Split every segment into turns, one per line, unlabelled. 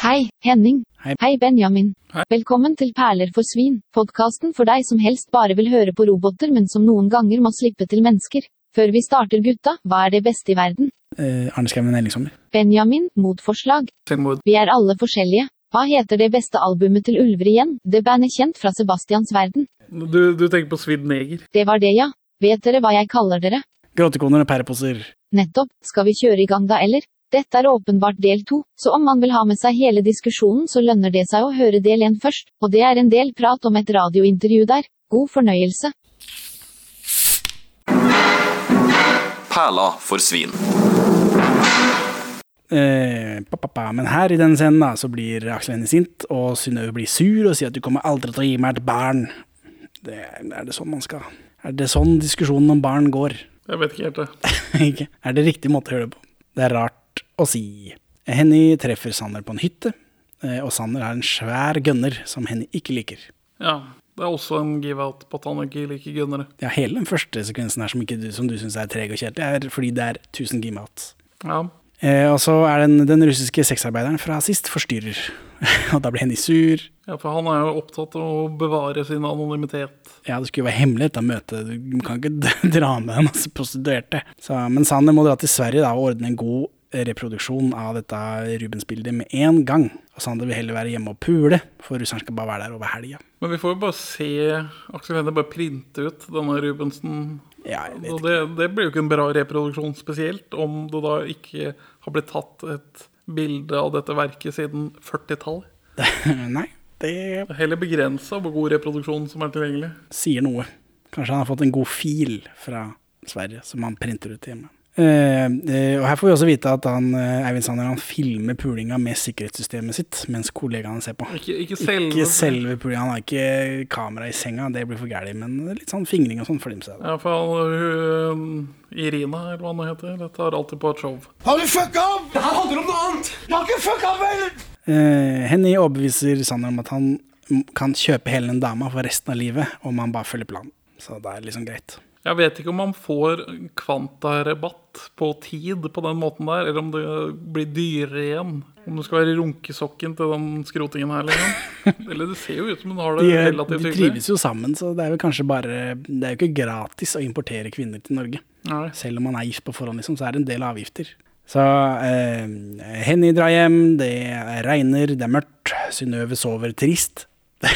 Hei, Henning.
Hei.
Benjamin.
Hei.
Velkommen til Perler for svin, podkasten for deg som helst bare vil høre på roboter, men som noen ganger må slippe til mennesker. Før vi starter, gutta, hva er det beste i verden?
Eh, Arne Skreven Ellingsommer.
Benjamin, motforslag.
Selvmord.
Vi er alle forskjellige. Hva heter det beste albumet til Ulver igjen? Det bandet kjent fra Sebastians verden.
Du, du tenker på svidd neger.
Det var det, ja. Vet dere hva jeg kaller dere?
Gråtekoner og pæreposer.
Nettopp, skal vi kjøre i gang da, eller? Dette er åpenbart del to, så om man vil ha med seg hele diskusjonen, så lønner det seg å høre del én først, og det er en del prat om et radiointervju der. God fornøyelse.
Perla for svin.
Eh, pa, pa, pa. Men her i denne scenen da, så blir Aksel Hennie sint, og Synnøve blir sur og sier at du kommer aldri til å gi meg et barn. Det, er det sånn man skal Er det sånn diskusjonen om barn går?
Jeg vet ikke helt det.
Ikke? Er det riktig måte å gjøre det på? Det er rart å si. Henny treffer Sanner på en hytte, eh, og Sanner har en svær gønner som Henny ikke liker.
Ja, Det er også en give-out på at han ikke liker gunnere.
Ja, hele den første sekvensen her som, ikke, du- som du syns er treg og kjedelig, er fordi det er 1000 gimouts.
Ja.
Eh, og så er den, den russiske sexarbeideren fra sist forstyrrer. og da blir Henny sur.
ja, for han er jo opptatt av å bevare sin anonymitet.
Ja, det skulle jo være hemmelig dette møtet, du kan ikke d- dra med deg masse prostituerte. Så, men Sanner må dra til Sverige da, og ordne en god reproduksjon av dette Rubens-bildet med en gang. Og Sander vil heller være hjemme og pule, for russeren skal bare være der over helga.
Men vi får jo bare se Aksel Hennie bare printe ut denne Rubensen.
Ja, jeg vet
Og det, det blir jo ikke en bra reproduksjon spesielt, om det da ikke har blitt tatt et bilde av dette verket siden 40-tallet.
ikke. Nei, det
Det er heller begrensa hvor god reproduksjon som er tilgjengelig.
sier noe. Kanskje han har fått en god fil fra Sverige som han printer ut hjemme. Eh, eh, og Her får vi også vite at han, eh, Eivind Sander han filmer pulinga med sikkerhetssystemet sitt, mens kollegaene ser på.
Ikke, ikke selve
Ikke selve pulinga, han har ikke kamera i senga, det blir for gærent. Men litt sånn fingring og sånn får de med seg.
Ja, for han, hun, Irina, eller hva hun heter, det tar alltid på et show.
Har du fucka opp? Det her handler om noe annet. Jeg har ikke fucka opp heller.
Eh, Henny overbeviser Sander om at han m- kan kjøpe hele den dama for resten av livet om han bare følger planen. Så det er liksom greit.
Jeg vet ikke om man får kvantarabatt på tid på den måten der, eller om det blir dyrere igjen. Om det skal være i runkesokken til den skrotingen her, liksom. Eller det ser jo ut som hun har
De,
det
eh,
relativt
de
hyggelig.
trives jo sammen, så det er jo kanskje bare Det er jo ikke gratis å importere kvinner til Norge.
Nei.
Selv om man er gift på forhånd, liksom, så er det en del avgifter. Så eh, Henny drar hjem, det regner, det er mørkt, Synnøve sover trist.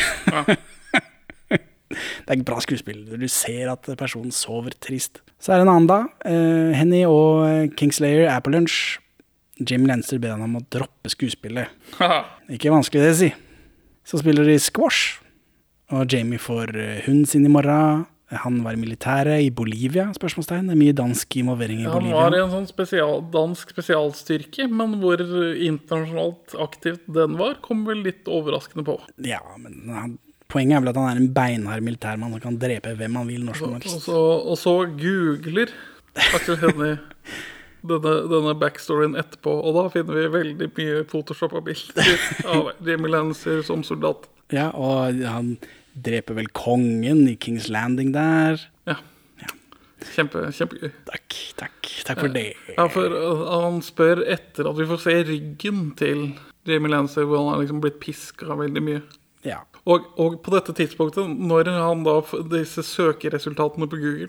det er et bra skuespill. Du ser at personen sover trist. Så er det en annen dag. Eh, Henny og Kingslayer er på lunsj. Jim Lenster ber han om å droppe skuespillet.
Haha.
Ikke vanskelig, det, si. Så spiller de squash. Og Jamie får eh, hunden sin i morgen. Han var i militæret i Bolivia? spørsmålstegn. Det er mye dansk involvering i
Han var i
Bolivia.
en sånn spesial, dansk spesialstyrke, men hvor internasjonalt aktivt den var, kom vel litt overraskende på.
Ja, men han, Poenget er vel at han er en beinhard militærmann som kan drepe hvem han vil når som
Og
helst.
så, og så googler Aksel Hennie denne, denne backstoryen etterpå, og da finner vi veldig mye photoshoppa bilder av Jimmy Lancer som soldat.
Ja, Og han dreper vel kongen i Kings Landing der.
Ja. Kjempe, kjempegøy.
Takk, takk. Takk for det.
Ja, for uh, han spør etter at vi får se ryggen til Jimmy Lancer, hvor han har liksom blitt piska veldig mye.
Ja.
Og, og på dette tidspunktet, når han da f- disse søkeresultatene på Google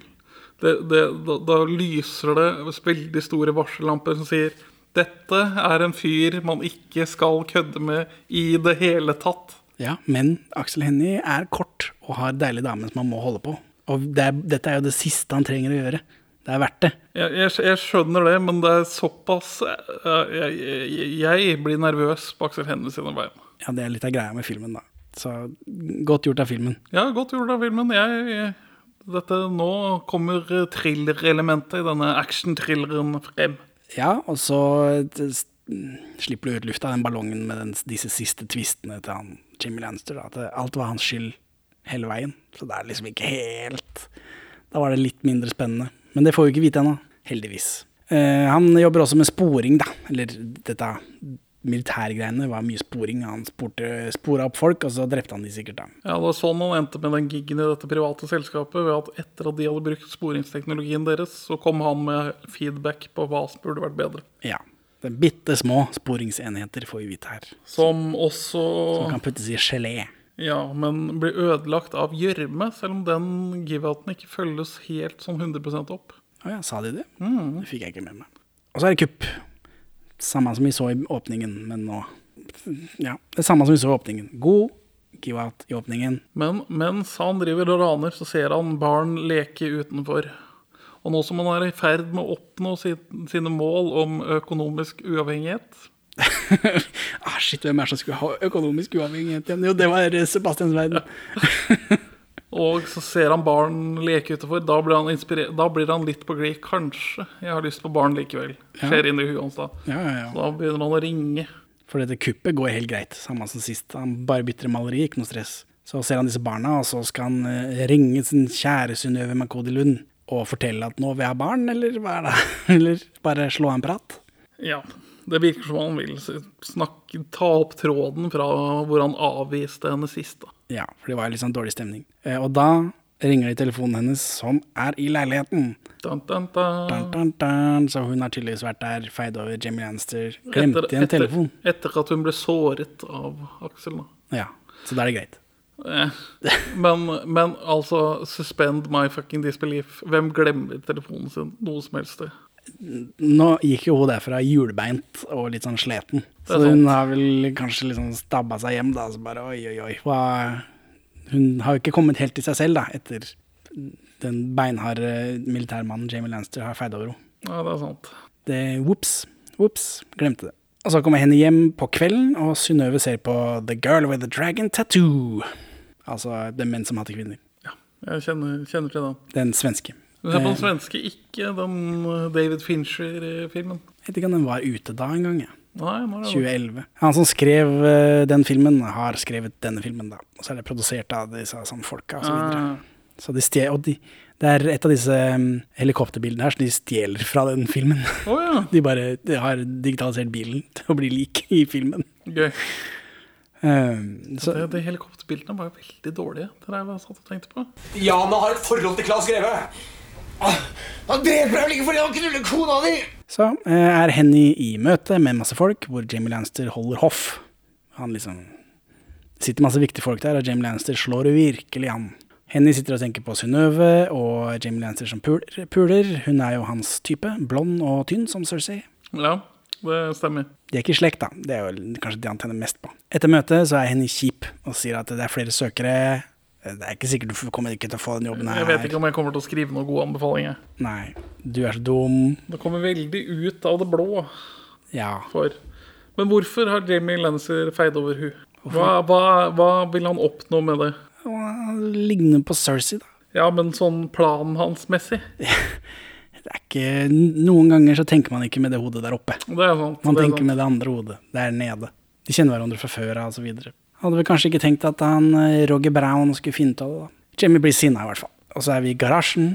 det, det, da, da lyser det veldig store varsellamper som sier dette er en fyr man ikke skal kødde med i det hele tatt.
Ja, men Aksel Hennie er kort og har deilige damer som han må holde på. Og det er, dette er jo det siste han trenger å gjøre. Det er verdt det.
Jeg, jeg, jeg skjønner det, men det er såpass eh, Jeg, jeg, jeg blir nervøs på Aksel Hennie sine vegne.
Ja, det er litt av greia med filmen, da. Så godt gjort av filmen.
Ja, godt gjort av filmen. Jeg, jeg, dette, nå kommer thriller-elementet i denne action-thrilleren frem.
Ja, og så eh, s- slipper du ut lufta av den ballongen med den, disse siste tvistene til han Jimmy Lanster. Da. At det- alt var hans skyld hele veien. Så det er liksom ikke helt Da var det litt mindre spennende. Men det får vi ikke vite ennå, heldigvis. Eh, han jobber også med sporing, da. Eller dette militærgreiene var mye sporing. Han sporte, spora opp folk, og så drepte han de sikkert, da.
Ja, det var sånn han endte med den giggen i dette private selskapet. Ved at etter at de hadde brukt sporingsteknologien deres, så kom han med feedback på hva som burde vært bedre.
Ja. Det er bitte små sporingsenheter, får vi vite her,
Som også
som kan puttes i gelé.
Ja, men blir ødelagt av gjørme, selv om den give-outen ikke følges helt sånn 100 opp.
Å ja, sa de det? Det fikk jeg ikke med meg. Og så er det kupp. Samme som vi så i åpningen, men nå Ja, det er samme som vi så i åpningen. God give-out i åpningen.
Men mens han driver og raner, så ser han barn leke utenfor. Og nå som han er i ferd med å oppnå sin- sine mål om økonomisk uavhengighet
ah, shit, hvem er det som skulle ha økonomisk uavhengighet igjen? Jo, det var eh, Sebastians verden.
og så ser han barn leke utenfor. Da blir han, inspirert, da blir han litt på glid. Kanskje jeg har lyst på barn likevel. Skjer inn i huet hans da.
Ja, ja, ja.
Så da begynner han å ringe.
For dette kuppet går helt greit, samme som sist. Han bare bytter maleri, ikke noe stress. Så ser han disse barna, og så skal han eh, ringe sin kjære Synnøve Makodi Lund og fortelle at nå vil jeg ha barn, eller hva er det? Eller bare slå av en prat?
Ja, det virker som han vil s- snakke, ta opp tråden fra hvor han avviste henne sist. da.
Ja, for det var litt sånn dårlig stemning. Eh, Og da ringer det i telefonen hennes, som er i leiligheten.
Dun, dun, dun.
Dun, dun, dun. Så hun har tydeligvis vært der, feid over Jamie Lannister. Glemte
Etter-
en
etter-
telefon.
Etter at hun ble såret av Aksel, da.
Ja, så da er det greit.
Eh, Men, men altså, suspend my fucking disbelief. Hvem glemmer telefonen sin noe som helst sted?
Nå gikk jo hun derfra hjulbeint og litt sånn sliten.
Det er
Så hun
sant.
har vel kanskje liksom stabba seg hjem, da. Så bare oi, oi, oi. Hva? Hun har jo ikke kommet helt til seg selv, da, etter den beinharde militærmannen Jamie Lannister har feid over henne.
Ja, det er sant.
Det, whoops, whoops, glemte det. Og så kommer henne hjem på kvelden, og Synnøve ser på The Girl with the Dragon Tattoo. Altså det er menn som hater kvinner.
Ja, jeg kjenner, kjenner til den.
Den svenske. Eh,
Men se på den svenske, ikke den eh, David Fincher-filmen.
Jeg vet ikke om den var ute da engang. Ja.
Nei, nå er det
2011. Han som skrev eh, den filmen, har skrevet denne filmen, da. Og så er det produsert av disse sånn, folka og så videre.
Ah.
Så de stje, og de, det er et av disse mm, helikopterbildene her som de stjeler fra den filmen.
Å ja,
De bare de har digitalisert bilen til å bli lik i filmen.
gøy.
Eh, så,
Det, de helikopterbildene var jo veldig dårlige. Det der jeg satt og tenkte på.
Jana har et forhold til Klas Greve. Ah, Han dreper deg vel ikke fordi han knuller kona di?
Så eh, er Henny i møte med masse folk, hvor Jamie Lannister holder hoff. Han liksom det sitter masse viktige folk der, og Jamie Lannister slår virkelig an. Henny sitter og tenker på Synnøve og Jamie Lannister som pul- puler. Hun er jo hans type, blond og tynn som Cersei.
Ja, det stemmer.
De er ikke i slekt, da. Det er jo kanskje det han tjener mest på. Etter møtet så er Henny kjip og sier at det er flere søkere. Det er ikke sikkert du f- kommer ikke til å få den jobben her.
Jeg vet ikke om jeg kommer til å skrive noen gode anbefalinger.
Nei. Du er så dum.
Det kommer veldig ut av det blå.
Ja.
for. Men hvorfor har Jamie Lannister feid over hun? Hva, hva, hva vil han oppnå med det?
Ligner på Cersei, da.
Ja, men sånn planen hans messig.
Det er ikke, noen ganger så tenker man ikke med det hodet der oppe.
Det er
Man
sant. det er sånn
tenker
sant.
med det andre hodet, der nede. De kjenner hverandre fra før av, og så videre. Hadde vel kanskje ikke tenkt at han eh, Roger Brown skulle finne ut av det, da. Jimmy blir sinna, i hvert fall. Og så er vi i garasjen.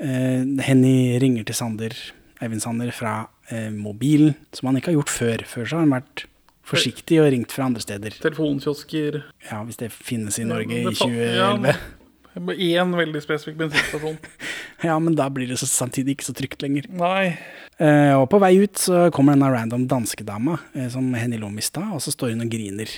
Eh, Henny ringer til Sander, Eivind Sander, fra eh, mobilen, som han ikke har gjort før. Før så har han vært forsiktig og ringt fra andre steder.
Telefonkiosker
Ja, hvis det finnes i Norge i
Det fa-
2011.
Ja, med Én veldig spesifikk bensinstasjon.
Ja, men da blir det så, samtidig ikke så trygt lenger.
Nei.
Eh, og på vei ut så kommer denne random danskedama eh, som Henny lå med i stad, og så står hun og griner.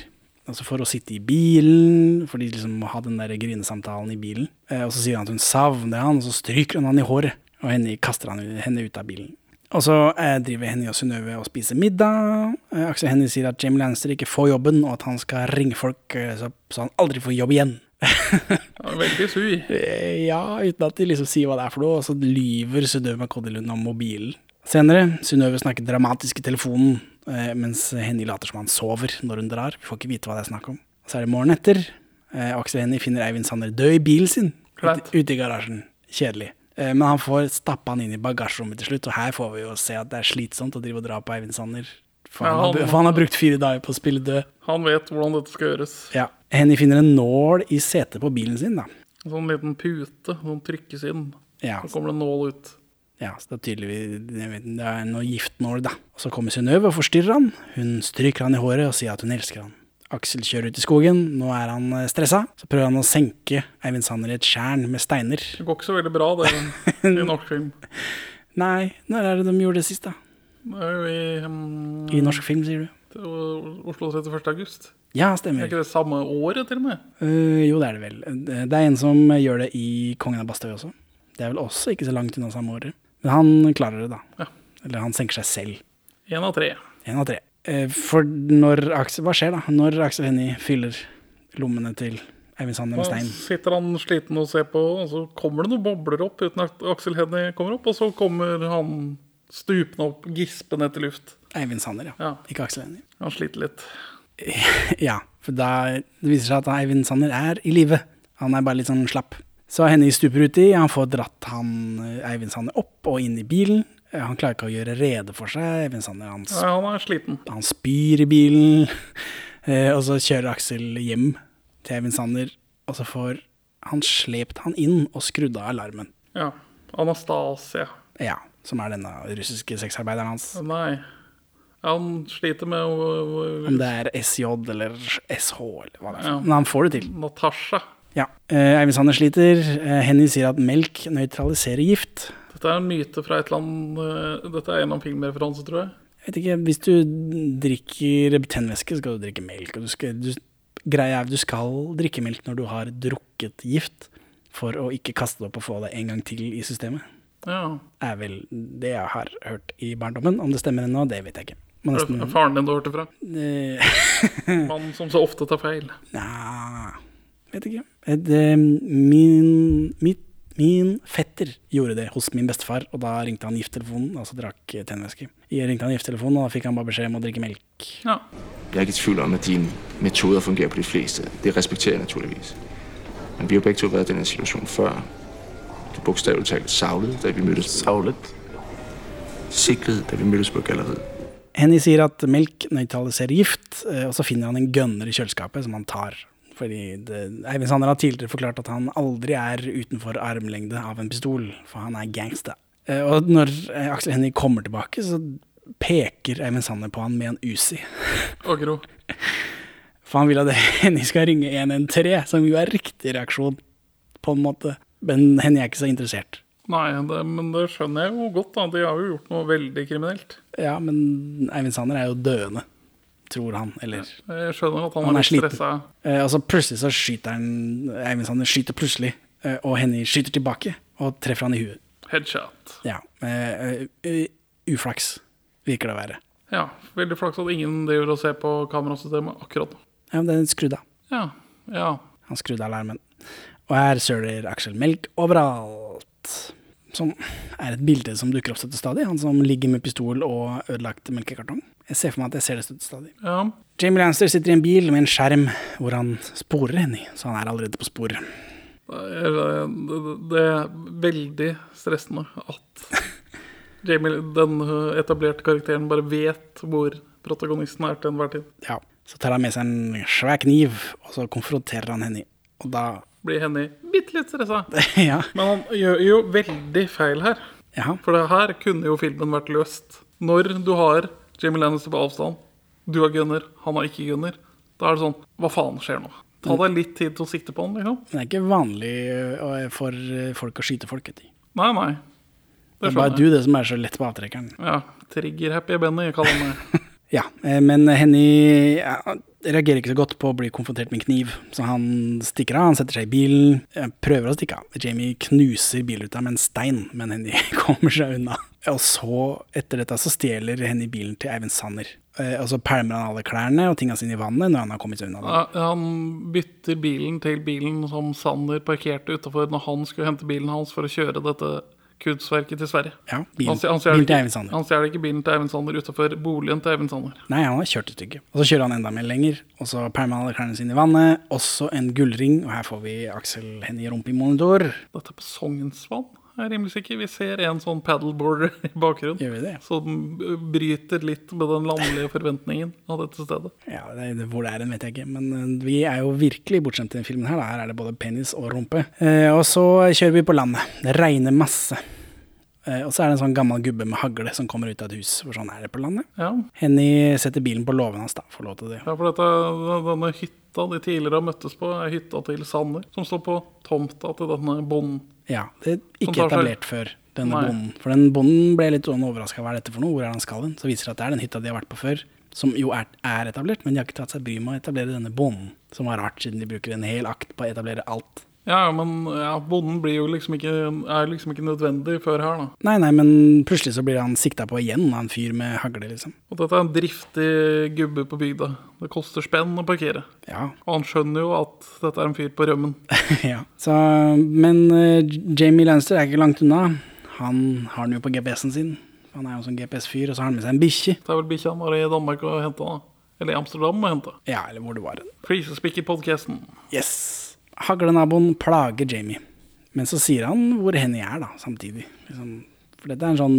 Altså for å sitte i bilen, for de liksom må ha den der grinesamtalen i bilen. Eh, og så sier han at hun savner han, og så stryker hun han i håret. Og Henny kaster han, henne ut av bilen. Og så eh, driver Henny og Synnøve og spiser middag. Eh, Aksel Henny sier at Jamie Lannister ikke får jobben, og at han skal ringe folk eh, så, så han aldri får jobb igjen.
Ja, veldig sui.
Eh, Ja, uten at de liksom sier hva det er for noe, og så lyver Synnøve Makodilund om mobilen. Senere, Synnøve snakker dramatisk i telefonen, eh, mens Henny later som han sover når hun drar. Vi får ikke vite hva det er snakk om. Så er det morgenen etter. Eh, Aksel Hennie finner Eivind Sander død i bilen sin
Klart.
ute, ute i garasjen. Kjedelig. Eh, men han får stappa han inn i bagasjerommet til slutt, og her får vi jo se at det er slitsomt å drive og dra på Eivind Sander. For han,
Ja,
har,
han-
for han har brukt fire dager på å spille død.
Han vet hvordan dette skal gjøres.
Ja. Henny finner en nål i setet på bilen sin, da.
En sånn liten pute som trykkes inn.
Ja.
Så kommer det en nål ut.
Ja, så det er tydeligvis jeg vet, det er noe giftnål, da. Og så kommer Synnøve og forstyrrer han. Hun stryker han i håret og sier at hun elsker han. Aksel kjører ut i skogen, nå er han eh, stressa. Så prøver han å senke Eivind Sanner i et tjern med steiner.
Det går ikke så veldig bra, det, i norsk film.
Nei, når er det de gjorde det sist, da?
Det er jo i, mm,
I norsk film, sier du?
Oslo 31. august.
Ja,
Er
stemmer.
ikke det samme året, til og med?
Eh, jo, det er det vel. Det er en som gjør det i Kongen av Bastøy også. Det er vel også ikke så langt unna samme året. Men han klarer det, da.
Ja.
Eller han senker seg selv.
Én av tre.
Én av tre. Eh, For når Aksel, hva skjer da? Når Aksel Hennie fyller lommene til Eivind Sandem
Da
Stein?
sitter han sliten og ser på, og så kommer det noen bobler opp uten at Aksel Hennie kommer opp, og så kommer han stupende opp, gispende etter luft.
Eivind Sander, ja.
Ja.
Ikke Aksel Hennie.
Han sliter litt.
Ja, for da det viser seg at Eivind Sander er i live. Han er bare litt sånn slapp. Så Henny stuper uti, han får dratt han eh, Eivind Sander opp og inn i bilen. Eh, Han klarer ikke å gjøre rede for seg. Eivind Sander han, s-
Nei, han er sliten.
han spyr i bilen. Eh, Og så kjører Aksel hjem til Eivind Sander, og så får han slept han inn og skrudd av alarmen.
Ja. Anastasia.
Ja, som er denne russiske sexarbeideren hans.
Nei. Han sliter med å-
Om det er SJ eller SH eller hva det er.
Ja.
Men han får det til.
Natasha.
Ja. Eh, Eivind Sander sliter. Eh, Henny sier at melk nøytraliserer gift.
Dette er en myte fra et eller annet eh, Dette er en eller annen filmreferanse, tror jeg.
Jeg vet ikke, Hvis du drikker tennvæske, så skal du drikke melk. Og du skal, du, greia er at du skal drikke melk når du har drukket gift, for å ikke kaste det opp og få det en gang til i systemet.
Ja.
er vel det jeg har hørt i barndommen. Om det stemmer ennå, det vet jeg ikke. Men
Er det
nesten
faren din du hørte fra?
eh,
Mannen som så ofte tar feil.
Nja Vet ikke. Eh, Det, min, mitt, min fetter gjorde det hos min bestefar, og da ringte han gifttelefonen, altså drakk eh, tennvæske. Jeg ringte han gifttelefonen, og da fikk han bare beskjed om å drikke melk.
Ja.
Jeg er ikke i tvivl om, at dine metoder fungerer på de fleste. Det respekterer jeg naturligvis. Men vi har begge to været i den her situation før. Du bogstaveligt talt savlede, da vi mødtes. Savlet? Sikrede, da vi mødtes på galleriet.
Henny sier at melk nøytraliserer gift, eh, og så finner han en gønner i kjøleskapet som han tar. Fordi det, Eivind Sander har tidligere forklart at han aldri er utenfor armlengde av en pistol, for han er gangster. Eh, Og når eh, Aksel Hennie kommer tilbake, så peker Eivind Sander på han med en Uzi.
Og Gro.
For han vil at Henny skal ringe 113, som jo er riktig reaksjon, på en måte. Men Henny er ikke så interessert.
Nei, det, men det skjønner jeg jo godt, da. De har jo gjort noe veldig kriminelt.
Ja, men Eivind Sander er jo døende, tror han, eller
Jeg skjønner at han,
Han er
er litt
sliten.
stressa.
Eh, Og så plutselig så skyter han Eivind Sander skyter plutselig, eh, og Henny skyter tilbake, og treffer han i huet.
Headshot.
Ja. eh, eh, Uflaks, virker det å være.
Ja, veldig flaks at ingen driver og ser på kamerasystemet akkurat nå.
Ja, men den skrudde av.
Ja, ja.
Han skrudde av alarmen. Og her søler Aksel Melk overalt. Som er et bilde som dukker opp støtte stadig. Han som ligger med pistol og ødelagt melkekartong. Jeg ser for meg at jeg ser det støtte stadig.
ja.
Jamie Lannister sitter i en bil med en skjerm hvor han sporer Henny, så han er allerede på sporet.
Det er, det er veldig stressende at Jamie, den etablerte karakteren bare vet hvor protagonisten er til enhver tid.
Ja. Så tar han med seg en svær kniv, og så konfronterer han Henny. Og da
Blir Henny bitte litt stressa.
Ja.
Men han gjør jo veldig feil her.
Jaha.
For det her kunne jo filmen vært løst. Når du har Jamie Lannister på avstand, du har gunner, han har ikke gunner, da er det sånn Hva faen skjer nå? Ta deg litt tid til å sikte på han, liksom.
Men det er ikke vanlig ø, for ø, folk å skyte folk etter.
Nei, nei.
Det
Det
er bare
skjønner jeg.
du det som er så lett på avtrekkeren.
Ja, Trigger-happy Benny kaller han meg.
Ja, eh, men Henny ja, reagerer ikke så godt på å bli konfrontert med en kniv, så han stikker av. Han setter seg i bilen, eh, prøver å stikke av. Jamie knuser bilruta med en stein, men Henny kommer seg unna. Og så, etter dette, så stjeler Henny bilen til Eivind Sanner. Eh, Og så pælmer han alle klærne og tinga sine i vannet når han har kommet seg unna. Da.
Ja, Han bytter bilen til bilen som Sander parkerte utafor når han skulle hente bilen hans for å kjøre dette kunstverket til Sverige.
Ja, bilen,
Han stjal- han stjal
bilen til
ikke-
Eivind Sanner.
Han stjal ikke bilen til Eivind Sander utafor boligen til Eivind Sander.
Nei, han har kjørt et stykke. Og så kjører han enda mer lenger, og så pælmer han alle klærne sine i vannet. Også en gullring, og her får vi Aksel Hennie Rumpe-monitor.
Dette er på Sognsvann, jeg er rimelig sikker. Vi ser en sånn paddleboarder i bakgrunnen.
Gjør vi det?
Som bryter litt med den landlige forventningen av dette stedet.
Ja, det, det, Hvor det er hen, vet jeg ikke, men eh, vi er jo virkelig bortskjemt i denne filmen. Her da. Her er det både penis og rumpe. Eh, og så kjører vi på landet. Det regner masse. Eh, og så er det en sånn gammel gubbe med hagle som kommer ut av et hus, for sånn er det på landet.
Ja,
Henny setter bilen på låven hans, da, får lov til det.
ja for dette, denne hytta de tidligere har møttes på, er hytta til Sander. Som står på tomta til denne bonden.
Ja, det er
Som
ikke
tar seg-
etablert før. denne
Nei.
bonden. For den bonden ble litt overraska. Hva er dette for noe? Hvor er han skal hen? Så viser det seg at det er den hytta de har vært på før, som jo er, er etablert, men de har ikke tatt seg bryet med å etablere denne bonden. Som var rart, siden de bruker en hel akt på å etablere alt.
Ja, men ja, bonden blir jo liksom ikke, er liksom ikke nødvendig før her, da.
Nei, nei, men plutselig så blir han sikta på igjen av en fyr med hagle, liksom.
Og dette er en driftig gubbe på bygda. Det koster spenn å parkere.
Ja,
Og han skjønner jo at dette er en fyr på rømmen.
ja. Så, men eh, Jamie Lannister er ikke langt unna. Han har den jo på GPS-en sin. Han er jo en sånn GPS-fyr, og så har han med seg en bikkje.
Det er vel bikkja han var i Danmark og henta, da. Eller i Amsterdam og henta.
Ja, eller hvor det var.
Flisespikk i podkasten.
Yes. Haglenaboen plager Jamie. Men så sier han hvor hen jeg er, da, samtidig. Liksom, for dette er en sånn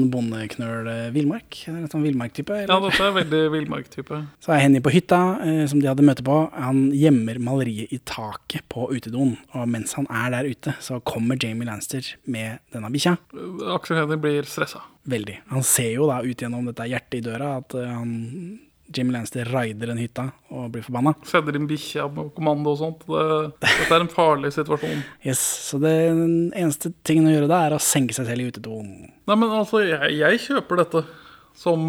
bondeknøl-villmark. En sånn villmarktype.
Ja,
eller?
dette er veldig villmarktype.
Så er Henny på hytta, eh, som de hadde møte på. Han gjemmer maleriet i taket på utedoen. Og mens han er der ute, så kommer Jamie Lanster med denne bikkja.
Aksel Hennie blir stressa.
Veldig. Han ser jo da ut gjennom dette hjertet i døra at eh, han, Jamie Lanster raider den hytta og blir forbanna.
Sender inn bikkja på kommando og sånt. Det, dette er en farlig situasjon.
Yes, så det, den eneste tingen å gjøre da, er å senke seg selv i utedoen.
Nei, men altså, jeg, jeg kjøper dette som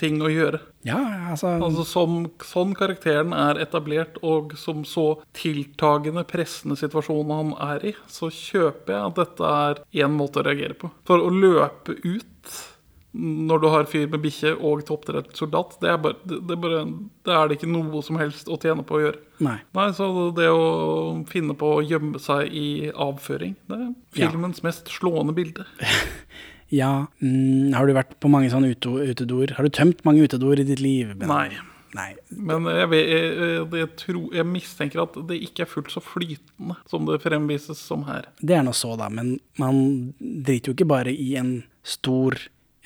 ting å gjøre.
Ja, altså,
Altså som, Sånn karakteren er etablert, og som så tiltagende pressende situasjonen han er i, så kjøper jeg at dette er én måte å reagere på. For å løpe ut når du har fyr med bikkje og toppdrept soldat, det er, bare, det, det er bare, det er det ikke noe som helst å tjene på å gjøre.
Nei.
Nei, så det å finne på å gjemme seg i avføring, det er
Ja.
filmens mest slående bilde.
Ja, mm, har du vært på mange sånne uto- utedoer? Har du tømt mange utedoer i ditt liv? Ben?
Nei.
Nei.
Men jeg, vet, jeg, jeg, jeg, tror, jeg mistenker at det ikke er fullt så flytende som det fremvises som her.
Det er nå så, da, men man driter jo ikke bare i en stor,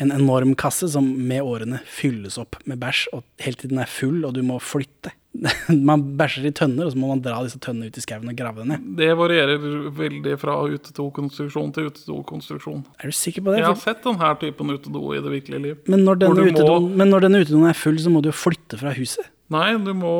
en enorm kasse som med årene fylles opp med bæsj, og helt til den er full, og du må flytte. Man bæsjer i tønner, og så må man dra disse tønnene ut i skauen og grave dem ned.
Det varierer veldig fra utedokonstruksjon til utedokonstruksjon.
Er du sikker på det?
Jeg har sett denne typen utedo i det virkelige liv.
Men når, denne
Hvor du må-
utedoen, men når denne utedoen er full, så må du jo flytte fra huset.
Nei, du må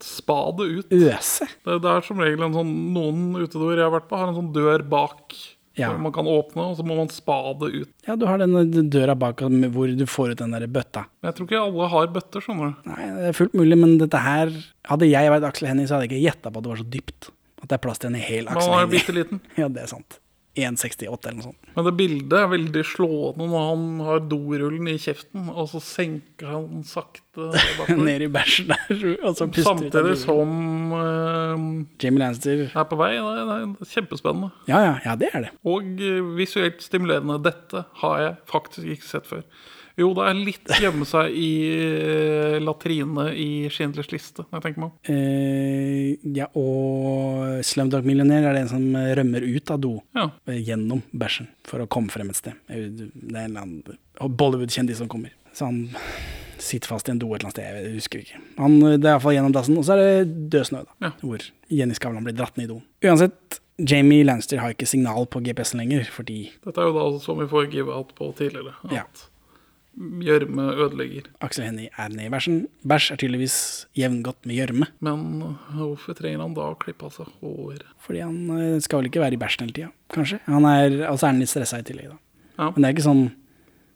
spa det ut.
Øse.
Det, det er som regel en sånn, Noen utedoer jeg har vært på, har en sånn dør bak.
Ja.
Som man kan åpne, og så må man spa det ut.
Ja, du har denne døra bak med- hvor du får ut den der bøtta.
Men jeg tror ikke alle har bøtter, skjønner du.
Nei, det er fullt mulig, men dette her Hadde jeg vært Aksel Hennie, så hadde jeg ikke gjetta på at det var så dypt. At det er plass til en hel
Man
Aksel
er
Hennie.
bitte liten.
Ja, det er sant. 1,68 eller noe sånt.
Men det bildet er veldig slående når han har dorullen i kjeften, og så senker han sakte bakover.
Ned i bæsjen der, og så puster ut av
Samtidig
bilen.
som eh,
Jamie Lannister
er på vei. Det er, det er kjempespennende.
Ja, ja, ja, det er det.
Og eh, visuelt stimulerende. Dette har jeg faktisk ikke sett før. Jo, det er litt gjemme seg i eh, latrine i Schindlers liste, når jeg tenker meg om.
Eh, ja, og Slumdog Millionaire er det en som rømmer ut av do.
Ja.
eh, Gjennom bæsjen, for å komme frem et sted. Det er jo- det er en eller annen og Bollywood-kjendis som kommer. Så han sitter fast i en do et eller annet sted, jeg husker ikke. Han, eh, det er iallfall gjennom dassen. Og så er det død snø, da.
Ja.
Hvor Jenny Skavlan blir dratt ned i doen. Uansett, Jamie Lanster har ikke signal på GPS-en lenger, fordi
Dette er jo da som vi får give out på tidligere,
Ja.
at gjørme ødelegger.
Aksel Hennie er nede i bæsjen. Bæsj er tydeligvis jevngodt med gjørme.
Men eh, hvorfor trenger han da å klippe av seg håret?
Fordi han eh, skal vel ikke være i bæsjen hele tida, kanskje. Han er, altså er han litt stressa i tillegg, da.
Ja.
Men det er ikke sånn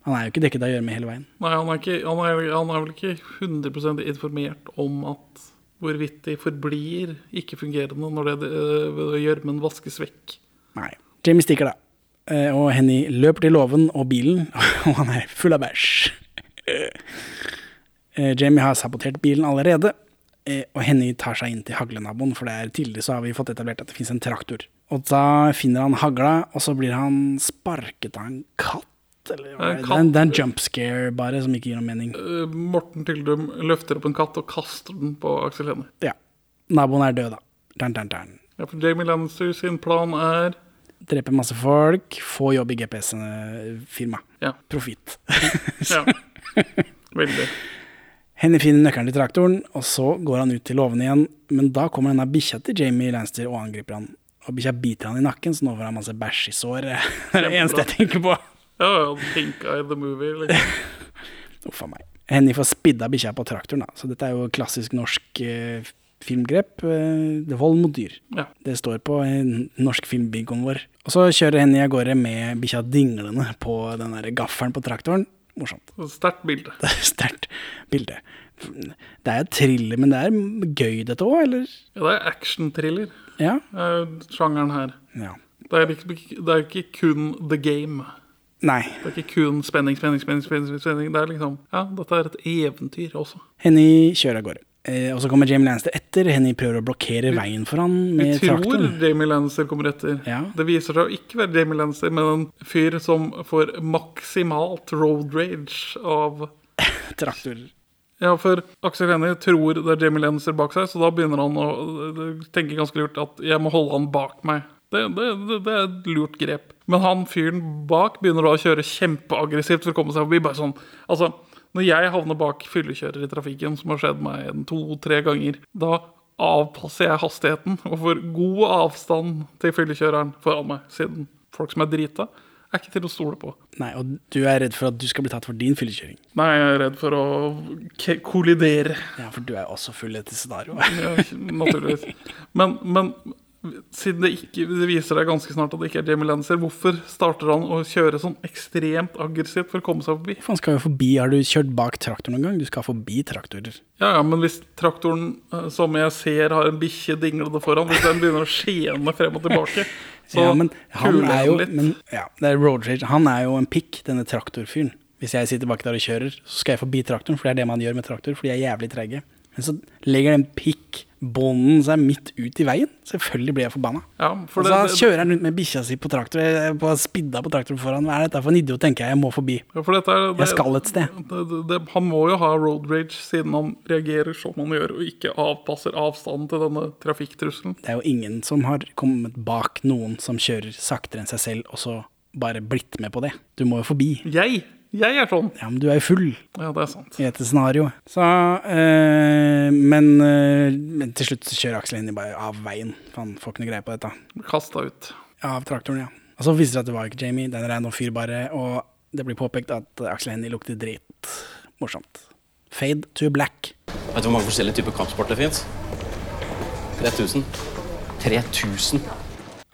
Han er jo ikke dekket av gjørme hele veien.
Nei, han er, ikke, han, er, han er vel ikke 100 informert om at hvorvidt de forblir ikke-fungerende når det- eh, det- gjørmen vaskes vekk.
Nei. Jamie stikker, da. Eh, Og Henny løper til låven og bilen, og han er full av bæsj. Eh, Jamie har sabotert bilen allerede, eh, og Henny tar seg inn til haglenaboen, for det er tidligere så har vi fått etablert at det fins en traktor. Og da finner han hagla, og så blir han sparket av en katt. Eller, hva er det? det,
En katt.
er en, det er en jump scare, bare, som ikke gir noen mening.
Eh, Morten Tyldum løfter opp en katt og kaster den på Aksel Hennie.
Ja. Naboen er død, da. Dun, dun, dun.
Ja, for Jamie Lannister sin plan er
Drepe masse folk, få jobb i GPS-firma.
Ja.
Profitt.
ja. Veldig.
Henny finner nøkkelen til traktoren, og så går han ut til låven igjen. Men da kommer denne bikkja til Jamie Lanster og angriper han. Og bikkja biter han i nakken, så nå får han masse bæsj i såret. Det er det eneste jeg tenker på.
Ja, ja, pink eye the movie. Liksom.
Uff a meg. Henny får spidda bikkja på traktoren, da. Så dette er jo klassisk norsk eh, filmgrep. eh, Det er vold mot dyr.
Ja.
Det står på eh, norsk filmbingoen vår. Og så kjører Henny av gårde med bikkja dinglende på den der gaffelen på traktoren. Morsomt.
Sterkt bilde.
Det er Sterkt bilde. Det er jo thriller, men det er gøy dette òg, eller?
Ja, det er action-thriller,
Ja.
er jo sjangeren her.
ja.
Det er, liksom ikke, det er ikke kun the game.
Nei.
Det er ikke kun spenning, spenning, spenning. spenning, spenning, spenning. Det er liksom, ja, Dette er et eventyr også.
Henny kjører av gårde. Eh, og så kommer Jamie Lannister etter. Henny prøver å blokkere veien for han
Vi
med
tror
traktoren.
Jamie Lannister kommer etter.
Ja.
Det viser seg å ikke være Jamie Lannister, men en fyr som får maksimalt road rage av
Traktor.
Ja, for Aksel Hennie tror det er Jamie Lannister bak seg, så da begynner han å øh, tenke ganske lurt at jeg må holde han bak meg. Det, det, det, det er et lurt grep. Men han fyren bak begynner da å kjøre kjempeaggressivt for å komme seg forbi. Bare sånn, altså, når jeg havner bak fyllekjører i trafikken, som har skjedd meg en to-tre ganger, da avpasser jeg hastigheten og får god avstand til fyllekjøreren foran meg, siden folk som er drita, er ikke til å stole på.
Nei, og du er redd for at du skal bli tatt for din fyllekjøring.
Nei, jeg er redd for å k kollidere.
Ja, for du er også full etter scenarioet.
Ja, naturligvis. Men, men siden det, ikke, det viser seg ganske snart at det ikke er Jamie Lannister, hvorfor starter han å kjøre sånn ekstremt aggressivt for å komme seg forbi?
For han skal jo forbi, Har du kjørt bak traktor noen gang? Du skal forbi traktorer.
Ja, ja, Men hvis traktoren eh, som jeg ser har en bikkje dinglende foran, hvis den begynner å skjene frem og tilbake, så
ja, men han
kuler
er
han
jo,
litt.
men, ja, det er road rage. Han er jo en pikk, denne traktorfyren. Hvis jeg sitter bak der og kjører, så skal jeg forbi traktoren, for det er det man gjør med traktor, for de er jævlig treige. Men så legger den pikkbånden seg midt ut i veien. Selvfølgelig blir jeg forbanna.
Ja, for
og
det,
så
det,
kjører han rundt med bikkja si på traktor, eh, på spidda på traktoren foran. Hva er dette for en idiot, tenker jeg. Jeg må forbi.
ja, for dette er, det,
Jeg skal et sted.
det, det, det, han må jo ha road rage siden han reagerer som han gjør, og ikke avpasser avstanden til denne trafikktrusselen.
Det er jo ingen som har kommet bak noen som kjører saktere enn seg selv, og så bare blitt med på det. Du må jo forbi.
Jeg! Jeg er sånn!
Ja, men du er jo full
Ja, det er sant.
i dette scenarioet. Så eh, men, eh, men til slutt så kjører Aksel Hennie bare av veien, for han får ikke noe greie på dette.
Kasta ut.
Av traktoren, ja. Og så viser det seg at det var ikke Jamie, det er en random fyr bare, og det blir påpekt at Aksel Hennie lukter drit. Morsomt. Fade to black.
Vet du hvor mange forskjellige typer kampsport det fins? 3000. 3000?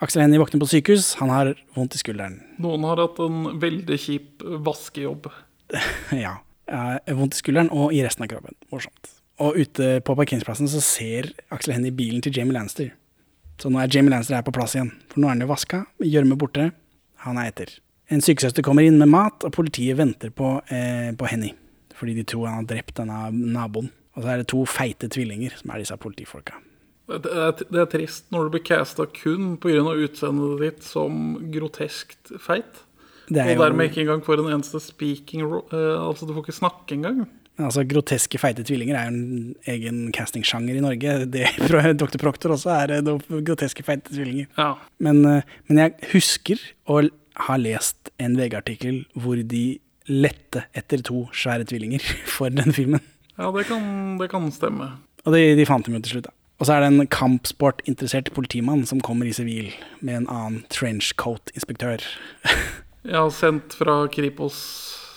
Aksel Hennie våkner på sykehus, han har vondt i skulderen.
Noen har hatt en veldig kjip vaskejobb.
Ja. Eh, Vondt i skulderen og i resten av kroppen. Morsomt. Og ute på parkeringsplassen så ser Aksel Hennie bilen til Jamie Lannister. Så nå er Jamie Lannister her på plass igjen. For nå er han jo vaska, gjørme borte. Han er etter. En sykesøster kommer inn med mat, og politiet venter på, eh, på Henny. Fordi de tror han har drept denne naboen. Og så er det to feite tvillinger som er disse politifolka.
Det er, det er trist når du blir casta kun pga. utseendet ditt som groteskt feit.
Det er
Og
jo
dermed ikke engang får en eneste speaking ro eh, Altså, du får ikke snakke engang.
altså, Groteske feite tvillinger er jo en egen castingsjanger i Norge. Det, Dr. Proctor også er eh, noen groteske feite tvillinger.
Ja.
Men, eh, men jeg husker å l- ha lest en VG-artikkel hvor de lette etter to svære tvillinger for den filmen.
Ja, det kan, det kan stemme.
Og de, de fant dem jo til slutt, da. Og så er det en kampsportinteressert politimann som kommer i sivil med en annen trenchcoat-inspektør.
Jeg har sendt fra Kripos